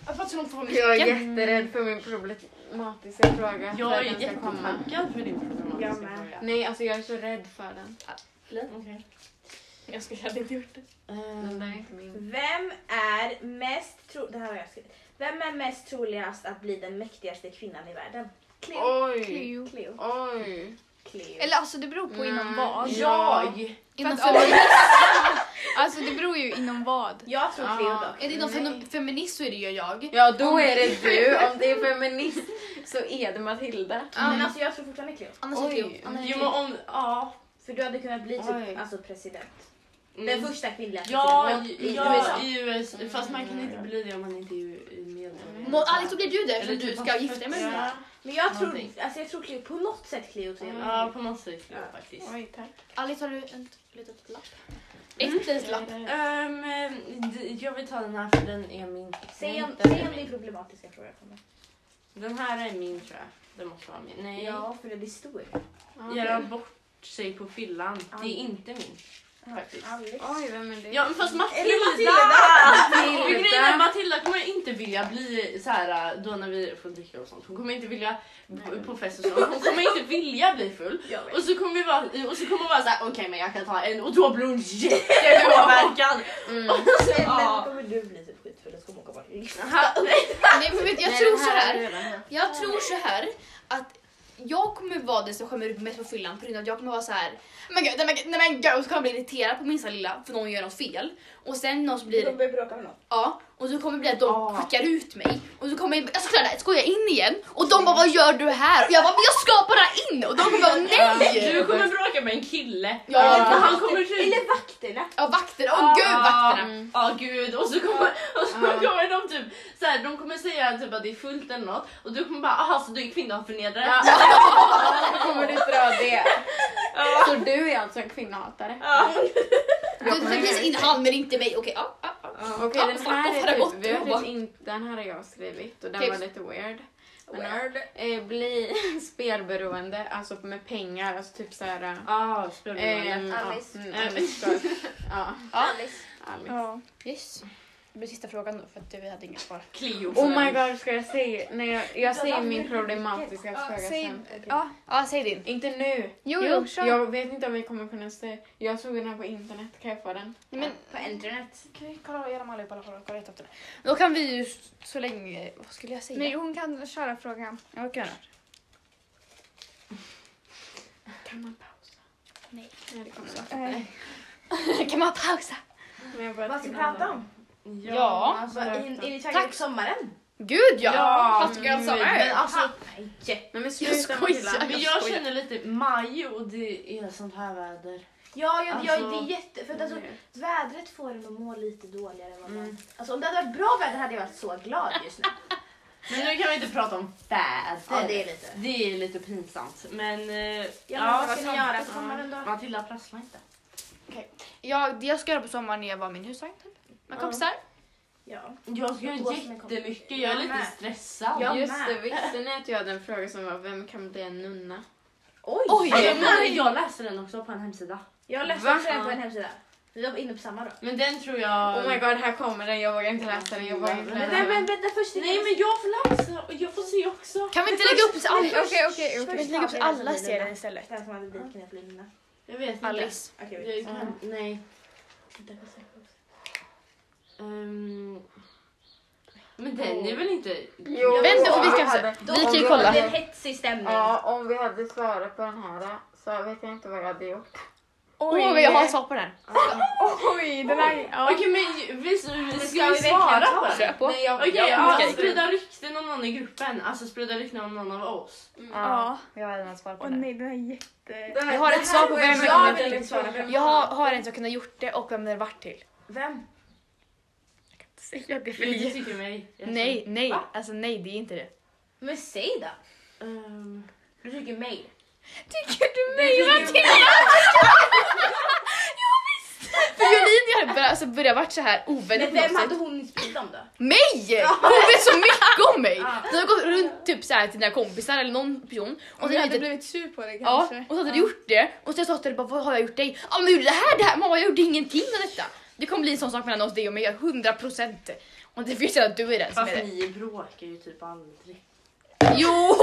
[SPEAKER 1] Jag har fått så långt från
[SPEAKER 4] Jag är
[SPEAKER 1] micken.
[SPEAKER 4] jätterädd för min problematiska fråga. för
[SPEAKER 3] Jag
[SPEAKER 4] att
[SPEAKER 3] är
[SPEAKER 4] den ska komma.
[SPEAKER 3] jättetaggad för din problematiska
[SPEAKER 5] Jag med.
[SPEAKER 3] fråga.
[SPEAKER 4] Nej, alltså jag är så rädd för den.
[SPEAKER 3] Okej.
[SPEAKER 1] Jag skulle hade inte gjort det.
[SPEAKER 4] Den där är
[SPEAKER 3] Ehm,
[SPEAKER 4] inte min.
[SPEAKER 5] Vem är mest tro... Det här har jag skrivit. Vem är mest troligast att bli den mäktigaste kvinnan i världen? Cleo.
[SPEAKER 4] Oj!
[SPEAKER 2] Cleo.
[SPEAKER 5] Cleo.
[SPEAKER 4] Oj!
[SPEAKER 5] Cleo.
[SPEAKER 2] Eller alltså det beror på inom
[SPEAKER 4] Nej.
[SPEAKER 2] vad.
[SPEAKER 3] Jag!
[SPEAKER 2] För
[SPEAKER 1] Inom
[SPEAKER 2] att,
[SPEAKER 1] feminism.
[SPEAKER 2] [laughs] Alltså det beror ju inom vad.
[SPEAKER 5] Jag tror Cleo
[SPEAKER 4] Ah.
[SPEAKER 5] dock.
[SPEAKER 1] Är det inom fem- feminism så är det ju jag.
[SPEAKER 4] Ja, då är det du. Om det är feminist så är det Matilda.
[SPEAKER 5] Men alltså jag tror fortfarande Cleo.
[SPEAKER 1] Annars är
[SPEAKER 4] Oj.
[SPEAKER 1] Cleo. Annars är
[SPEAKER 3] Jo men
[SPEAKER 1] Cleo.
[SPEAKER 3] om, ja.
[SPEAKER 5] För du hade kunnat bli
[SPEAKER 4] Oj.
[SPEAKER 5] typ alltså president.
[SPEAKER 3] Mm.
[SPEAKER 5] Den första kvinnliga
[SPEAKER 3] Ja,
[SPEAKER 5] presidenten
[SPEAKER 3] i- ja, i USA. Fast man kan inte bli det om man inte är ju- medlem.
[SPEAKER 1] Mm. Må- Alex, då blir du det
[SPEAKER 3] Eller
[SPEAKER 1] eftersom du
[SPEAKER 3] typ
[SPEAKER 1] ska
[SPEAKER 3] att-
[SPEAKER 1] gifta dig med
[SPEAKER 3] Ja.
[SPEAKER 1] mig.
[SPEAKER 5] Men jag tror,
[SPEAKER 3] Någonting.
[SPEAKER 5] alltså jag tror Cleo, på något sätt Cleo tror
[SPEAKER 1] Mm.
[SPEAKER 5] jag.
[SPEAKER 3] Ja, på något sätt ja.
[SPEAKER 5] Ja.
[SPEAKER 3] faktiskt.
[SPEAKER 4] Oj, tack.
[SPEAKER 1] Alice, har du en litet lapp? Ett litet lapp.
[SPEAKER 3] Ehm, d- jag vill ta den här för den är min.
[SPEAKER 5] Säg om,
[SPEAKER 3] Den,
[SPEAKER 5] säg
[SPEAKER 3] är
[SPEAKER 5] om det är
[SPEAKER 3] min.
[SPEAKER 5] problematiska frågor kommer.
[SPEAKER 3] den här är min tror jag. Den måste vara min. Nej.
[SPEAKER 5] Ja, för den är stor.
[SPEAKER 3] Göra bort sig på fyllan. Det är
[SPEAKER 5] Aldrig.
[SPEAKER 3] inte min. Faktiskt.
[SPEAKER 5] Alice.
[SPEAKER 4] Oj, vem är det?
[SPEAKER 3] Ja men fast
[SPEAKER 5] Eller
[SPEAKER 3] Matilda!
[SPEAKER 5] Matilda!
[SPEAKER 3] För grejen
[SPEAKER 4] Matilda.
[SPEAKER 3] är, Matilda kommer inte vilja bli så här då när vi får dricka och sånt. Hon kommer inte vilja b- på fest och sånt. Hon kommer inte vilja bli full.
[SPEAKER 5] Jag vet.
[SPEAKER 3] Och så kommer vi vara, och så kommer hon vara såhär okej men jag kan ta en och då blir hon jättepåverkad.
[SPEAKER 4] Mm.
[SPEAKER 3] Och så,
[SPEAKER 5] Eller
[SPEAKER 3] ja.
[SPEAKER 5] kommer du bli typ skitfull och så kommer hon komma
[SPEAKER 3] Aha.
[SPEAKER 1] Nej, men vet, du, jag
[SPEAKER 4] Nej,
[SPEAKER 1] tror
[SPEAKER 4] den
[SPEAKER 1] så
[SPEAKER 4] är
[SPEAKER 1] här.
[SPEAKER 4] redan här.
[SPEAKER 1] Jag tror så här att jag kommer vara den som skämmer ut mest på fyllan på grund av att jag kommer vara så här. "Oh Men gud, nej men gud, nej men gud. Och så kommer jag bli irriterad på minsta lilla för någon gör något fel. Och sen någon som blir
[SPEAKER 5] börjar bråka med någon.
[SPEAKER 1] Ja, och så kommer det bli att de
[SPEAKER 3] Ja.
[SPEAKER 1] skickar ut mig och så kommer jag, alltså, jag ska, där, ska jag in igen och de bara vad gör du här? Och jag bara men jag ska bara in och de kommer bara nej!
[SPEAKER 3] Du kommer bråka med en kille.
[SPEAKER 1] Ja.
[SPEAKER 3] Och han kommer till...
[SPEAKER 5] Eller vakterna!
[SPEAKER 1] Ja vakterna, åh gud vakterna!
[SPEAKER 4] Mm.
[SPEAKER 3] Ja gud och så kommer, och så
[SPEAKER 4] Ja.
[SPEAKER 3] kommer de typ så här, de kommer säga typ att det är fullt eller något och du kommer bara aha så du är kvinnohatförnedrare.
[SPEAKER 1] [laughs]
[SPEAKER 4] Ja. Kommer du dra det? Så du är alltså en kvinnohatare?
[SPEAKER 3] Ja.
[SPEAKER 1] Du det blir så in, han men inte mig, okej ja. ja, ja.
[SPEAKER 4] Okej,
[SPEAKER 1] Ja,
[SPEAKER 4] den
[SPEAKER 1] fan,
[SPEAKER 4] här
[SPEAKER 1] varför
[SPEAKER 4] är
[SPEAKER 1] har det
[SPEAKER 4] typ,
[SPEAKER 1] gått
[SPEAKER 4] vi har
[SPEAKER 1] då? Typ
[SPEAKER 4] typ in, den här har jag skrivit och den
[SPEAKER 1] Okej,
[SPEAKER 4] var
[SPEAKER 1] så-
[SPEAKER 4] lite weird. Men, ja. Eh, bli [laughs] spelberoende, alltså med pengar, alltså typ såhär...
[SPEAKER 3] Ah,
[SPEAKER 4] eh,
[SPEAKER 3] spelberoende.
[SPEAKER 4] ehm, ja,
[SPEAKER 5] Alice.
[SPEAKER 4] mm, Alice. Ja,
[SPEAKER 5] Alice.
[SPEAKER 4] Alice.
[SPEAKER 2] Ja.
[SPEAKER 1] Yes. Det blir sista frågan då för att vi hade inga svar.
[SPEAKER 3] Cleo.
[SPEAKER 4] Oh my god, ska jag säga? Nej, jag, jag säger
[SPEAKER 5] varför
[SPEAKER 4] min
[SPEAKER 5] är det
[SPEAKER 4] problematiska
[SPEAKER 2] Ja,
[SPEAKER 4] fråga
[SPEAKER 2] säg,
[SPEAKER 4] sen.
[SPEAKER 2] ja.
[SPEAKER 1] Ja, säg din.
[SPEAKER 4] Inte nu.
[SPEAKER 2] Jo,
[SPEAKER 1] Jo,
[SPEAKER 2] jo, kör.
[SPEAKER 4] Jag vet inte om vi kommer kunna se. Jag såg den här på internet. Kan jag få den?
[SPEAKER 1] Nej, men
[SPEAKER 3] På internet.
[SPEAKER 1] Kan vi kolla igenom allihopa och kolla- kolla rätt efter det? Då kan vi ju s- så länge... Vad skulle jag säga?
[SPEAKER 2] Nej, hon kan köra frågan.
[SPEAKER 1] Ja, vad kan jag göra?
[SPEAKER 4] Kan man pausa?
[SPEAKER 1] Nej.
[SPEAKER 4] Nej, det kommer jag.
[SPEAKER 2] Eh, [laughs]
[SPEAKER 1] kan man pausa?
[SPEAKER 4] Men jag bara
[SPEAKER 5] Vad ska vi
[SPEAKER 4] tycker om
[SPEAKER 5] prata
[SPEAKER 4] den.
[SPEAKER 5] om?
[SPEAKER 3] Ja.
[SPEAKER 1] Ja.
[SPEAKER 3] Alltså,
[SPEAKER 5] Vad-
[SPEAKER 3] in,
[SPEAKER 5] in- in i
[SPEAKER 1] Tack.
[SPEAKER 5] tack sommaren.
[SPEAKER 1] Gud ja!
[SPEAKER 3] Ja,
[SPEAKER 1] Fast jag sa
[SPEAKER 2] Mm.
[SPEAKER 3] Men alltså,
[SPEAKER 5] Nej.
[SPEAKER 4] Nej men
[SPEAKER 1] Jag
[SPEAKER 4] sluta
[SPEAKER 1] skojar.
[SPEAKER 4] Matilda.
[SPEAKER 3] men jag känner lite maj och det är sånt här väder.
[SPEAKER 5] Ja, jag, jag, det
[SPEAKER 3] Alltså-
[SPEAKER 5] är jätte... För att alltså, vädret får en att må lite dåligare än vad man... Alltså om det hade varit bra väder hade jag varit så glad just nu.
[SPEAKER 3] Men nu kan vi inte prata om väder.
[SPEAKER 5] ja, det är lite.
[SPEAKER 3] Det är lite pinsamt. Men eh,
[SPEAKER 5] Ja, men vad ska
[SPEAKER 3] som-
[SPEAKER 5] ni göra på sommaren då?
[SPEAKER 3] Matilda prassla inte.
[SPEAKER 1] Ja, det jag ska göra på sommaren är att vara min husvagn typ. Med kompisar.
[SPEAKER 5] Ja.
[SPEAKER 3] Jag ska
[SPEAKER 5] Jag
[SPEAKER 3] göra
[SPEAKER 5] tror att man kommer-
[SPEAKER 3] jättemycket. Jag är
[SPEAKER 5] Jag
[SPEAKER 3] lite
[SPEAKER 5] med.
[SPEAKER 3] stressad.
[SPEAKER 5] Jag
[SPEAKER 4] Just
[SPEAKER 5] med.
[SPEAKER 4] det, visste ni att jag hade en fråga som var vem kan bli en nunna?
[SPEAKER 5] Oj!
[SPEAKER 1] Oj.
[SPEAKER 3] Ja, men jag läste den också på en hemsida.
[SPEAKER 5] Jag läste
[SPEAKER 4] Va?
[SPEAKER 5] också den på en hemsida. Vi var inne på samma då.
[SPEAKER 3] Men den tror jag...
[SPEAKER 4] Oh my god, här kommer den. Jag vågar inte läsa den. Jag vågar inte
[SPEAKER 3] Men
[SPEAKER 4] läsa
[SPEAKER 5] Nej
[SPEAKER 4] den.
[SPEAKER 5] men vänta först.
[SPEAKER 3] Nej men jag får läsa och jag får se också.
[SPEAKER 1] Kan vi inte lägga upp så alla?
[SPEAKER 2] Okej, okej, okej.
[SPEAKER 1] Kan vi inte lägga upp så alla serier istället?
[SPEAKER 5] Den som hade dit kan jag bli mina.
[SPEAKER 3] Jag vet inte.
[SPEAKER 1] Alice.
[SPEAKER 5] Okej, vi-
[SPEAKER 3] Jag kan, Nej. Ehm, men den är väl inte...
[SPEAKER 4] Jo.
[SPEAKER 1] Vänta, för vi
[SPEAKER 4] jag
[SPEAKER 1] kan
[SPEAKER 4] hade-
[SPEAKER 1] se. Vi
[SPEAKER 4] om
[SPEAKER 1] kan ju
[SPEAKER 4] jag
[SPEAKER 1] kolla.
[SPEAKER 5] Det är en hetsig stämning.
[SPEAKER 4] Ja, om vi hade svarat på den här så vet jag inte vad jag hade gjort.
[SPEAKER 1] Åh, vad jag har ett svar på den. här.
[SPEAKER 2] Oj, den här... Ja.
[SPEAKER 3] Okej men vi, vi,
[SPEAKER 5] ska
[SPEAKER 3] ska
[SPEAKER 5] vi
[SPEAKER 3] vi
[SPEAKER 5] verkligen
[SPEAKER 3] svara
[SPEAKER 5] ta
[SPEAKER 3] på
[SPEAKER 5] det?
[SPEAKER 3] det?
[SPEAKER 1] Kör på.
[SPEAKER 4] Nej, jag,
[SPEAKER 3] Okej,
[SPEAKER 4] jag,
[SPEAKER 3] ja,
[SPEAKER 1] okej.
[SPEAKER 3] sprida rykten om någon i gruppen. Alltså sprida rykten om någon av oss.
[SPEAKER 2] Ja.
[SPEAKER 1] Jag har redan svarat på
[SPEAKER 2] Åh
[SPEAKER 1] den. här.
[SPEAKER 2] nej, den här är jätte...
[SPEAKER 4] Det här-
[SPEAKER 1] Jag har
[SPEAKER 4] det
[SPEAKER 1] ett
[SPEAKER 4] här
[SPEAKER 1] svar på
[SPEAKER 4] var
[SPEAKER 1] vem
[SPEAKER 4] ju-
[SPEAKER 1] jag
[SPEAKER 4] jag
[SPEAKER 1] kunde-
[SPEAKER 4] vill inte svara på.
[SPEAKER 1] Jag har, har ens kunnat gjort det och vem den vart till.
[SPEAKER 5] Vem?
[SPEAKER 1] Säga det för
[SPEAKER 3] Du
[SPEAKER 1] lite.
[SPEAKER 3] tycker mig. Jag
[SPEAKER 1] Nej, nej. Alltså nej, det är inte det.
[SPEAKER 5] Men säg då.
[SPEAKER 3] ser. Ehm,
[SPEAKER 5] Du tycker mig.
[SPEAKER 1] Tycker du mig Matilda? För Jolin har börjat- alltså börjat varit så här ovänlig på
[SPEAKER 5] Men
[SPEAKER 1] något
[SPEAKER 5] vem
[SPEAKER 1] sätt.
[SPEAKER 5] hade hon skrivit om då?
[SPEAKER 1] Mig! Hon vet så mycket om mig! Du har gått runt typ så här till dina kompisar eller någon person och
[SPEAKER 2] Och
[SPEAKER 1] så hade
[SPEAKER 2] jag hade
[SPEAKER 1] du
[SPEAKER 2] blivit sur på det
[SPEAKER 1] Ja,
[SPEAKER 2] kanske.
[SPEAKER 1] och så hade du gjort det och sen sa du bara vad har jag gjort dig? Ja men gjorde det här, det här, mamma jag gjorde ingenting av detta. Det kommer bli en sån sak mellan oss dig och mig, 100% och det vet jag att du är den som är
[SPEAKER 3] Fast
[SPEAKER 1] det.
[SPEAKER 3] ni bråkar ju typ aldrig.
[SPEAKER 1] Jo!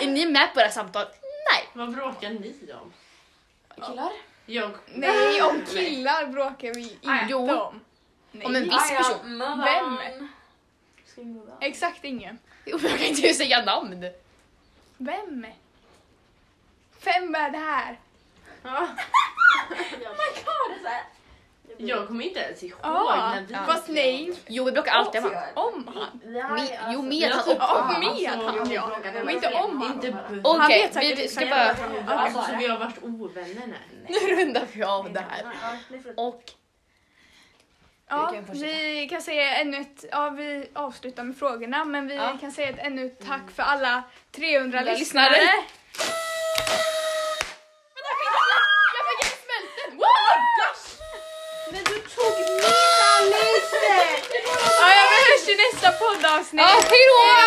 [SPEAKER 1] Är ni med på det här samtalet? Nej.
[SPEAKER 3] Vad bråkar ni om?
[SPEAKER 1] Killar?
[SPEAKER 3] Jag...
[SPEAKER 2] Nej, om killar bråkar vi inte
[SPEAKER 1] Jo.
[SPEAKER 2] om. Nej. Ah,
[SPEAKER 1] Om en viss person.
[SPEAKER 4] Vem?
[SPEAKER 2] Exakt ingen.
[SPEAKER 1] Jo, men Jag kan inte säga namn.
[SPEAKER 2] Vem? Vem är det här?
[SPEAKER 3] Jag kommer inte ens ihåg
[SPEAKER 2] Ja,
[SPEAKER 3] när vi...
[SPEAKER 2] fast nej.
[SPEAKER 1] Jo vi bråkar alltid om han.
[SPEAKER 2] Om han.
[SPEAKER 1] Me, jo med
[SPEAKER 3] Jag
[SPEAKER 1] han
[SPEAKER 3] tror-
[SPEAKER 1] och
[SPEAKER 2] Ja,
[SPEAKER 3] Ja,
[SPEAKER 2] med
[SPEAKER 3] alltså,
[SPEAKER 2] han
[SPEAKER 3] vi
[SPEAKER 2] ja.
[SPEAKER 3] bråkade
[SPEAKER 2] Men inte
[SPEAKER 5] flera
[SPEAKER 2] om han.
[SPEAKER 3] Inte bu-
[SPEAKER 1] Okej,
[SPEAKER 2] Han vet säkert
[SPEAKER 1] vi ska
[SPEAKER 2] exakt
[SPEAKER 1] bara...
[SPEAKER 3] Alltså så vi har varit ovänner nu.
[SPEAKER 1] Nu rundar vi av det här.
[SPEAKER 5] Ja, nu får-
[SPEAKER 1] Och
[SPEAKER 2] Ja,
[SPEAKER 1] Du kan fortsätta.
[SPEAKER 2] vi kan säga ännu ett, ja vi avslutar med frågorna men vi
[SPEAKER 1] Ja.
[SPEAKER 2] kan säga ett ännu ett tack för alla 300
[SPEAKER 1] Alla
[SPEAKER 2] lyssnare. [laughs]
[SPEAKER 1] lyssnare. Jag fick en smälten!
[SPEAKER 5] Men du tog mina listor!
[SPEAKER 2] Ja, ja, vi hörs i nästa poddavsnitt.
[SPEAKER 1] Ja, hejdå!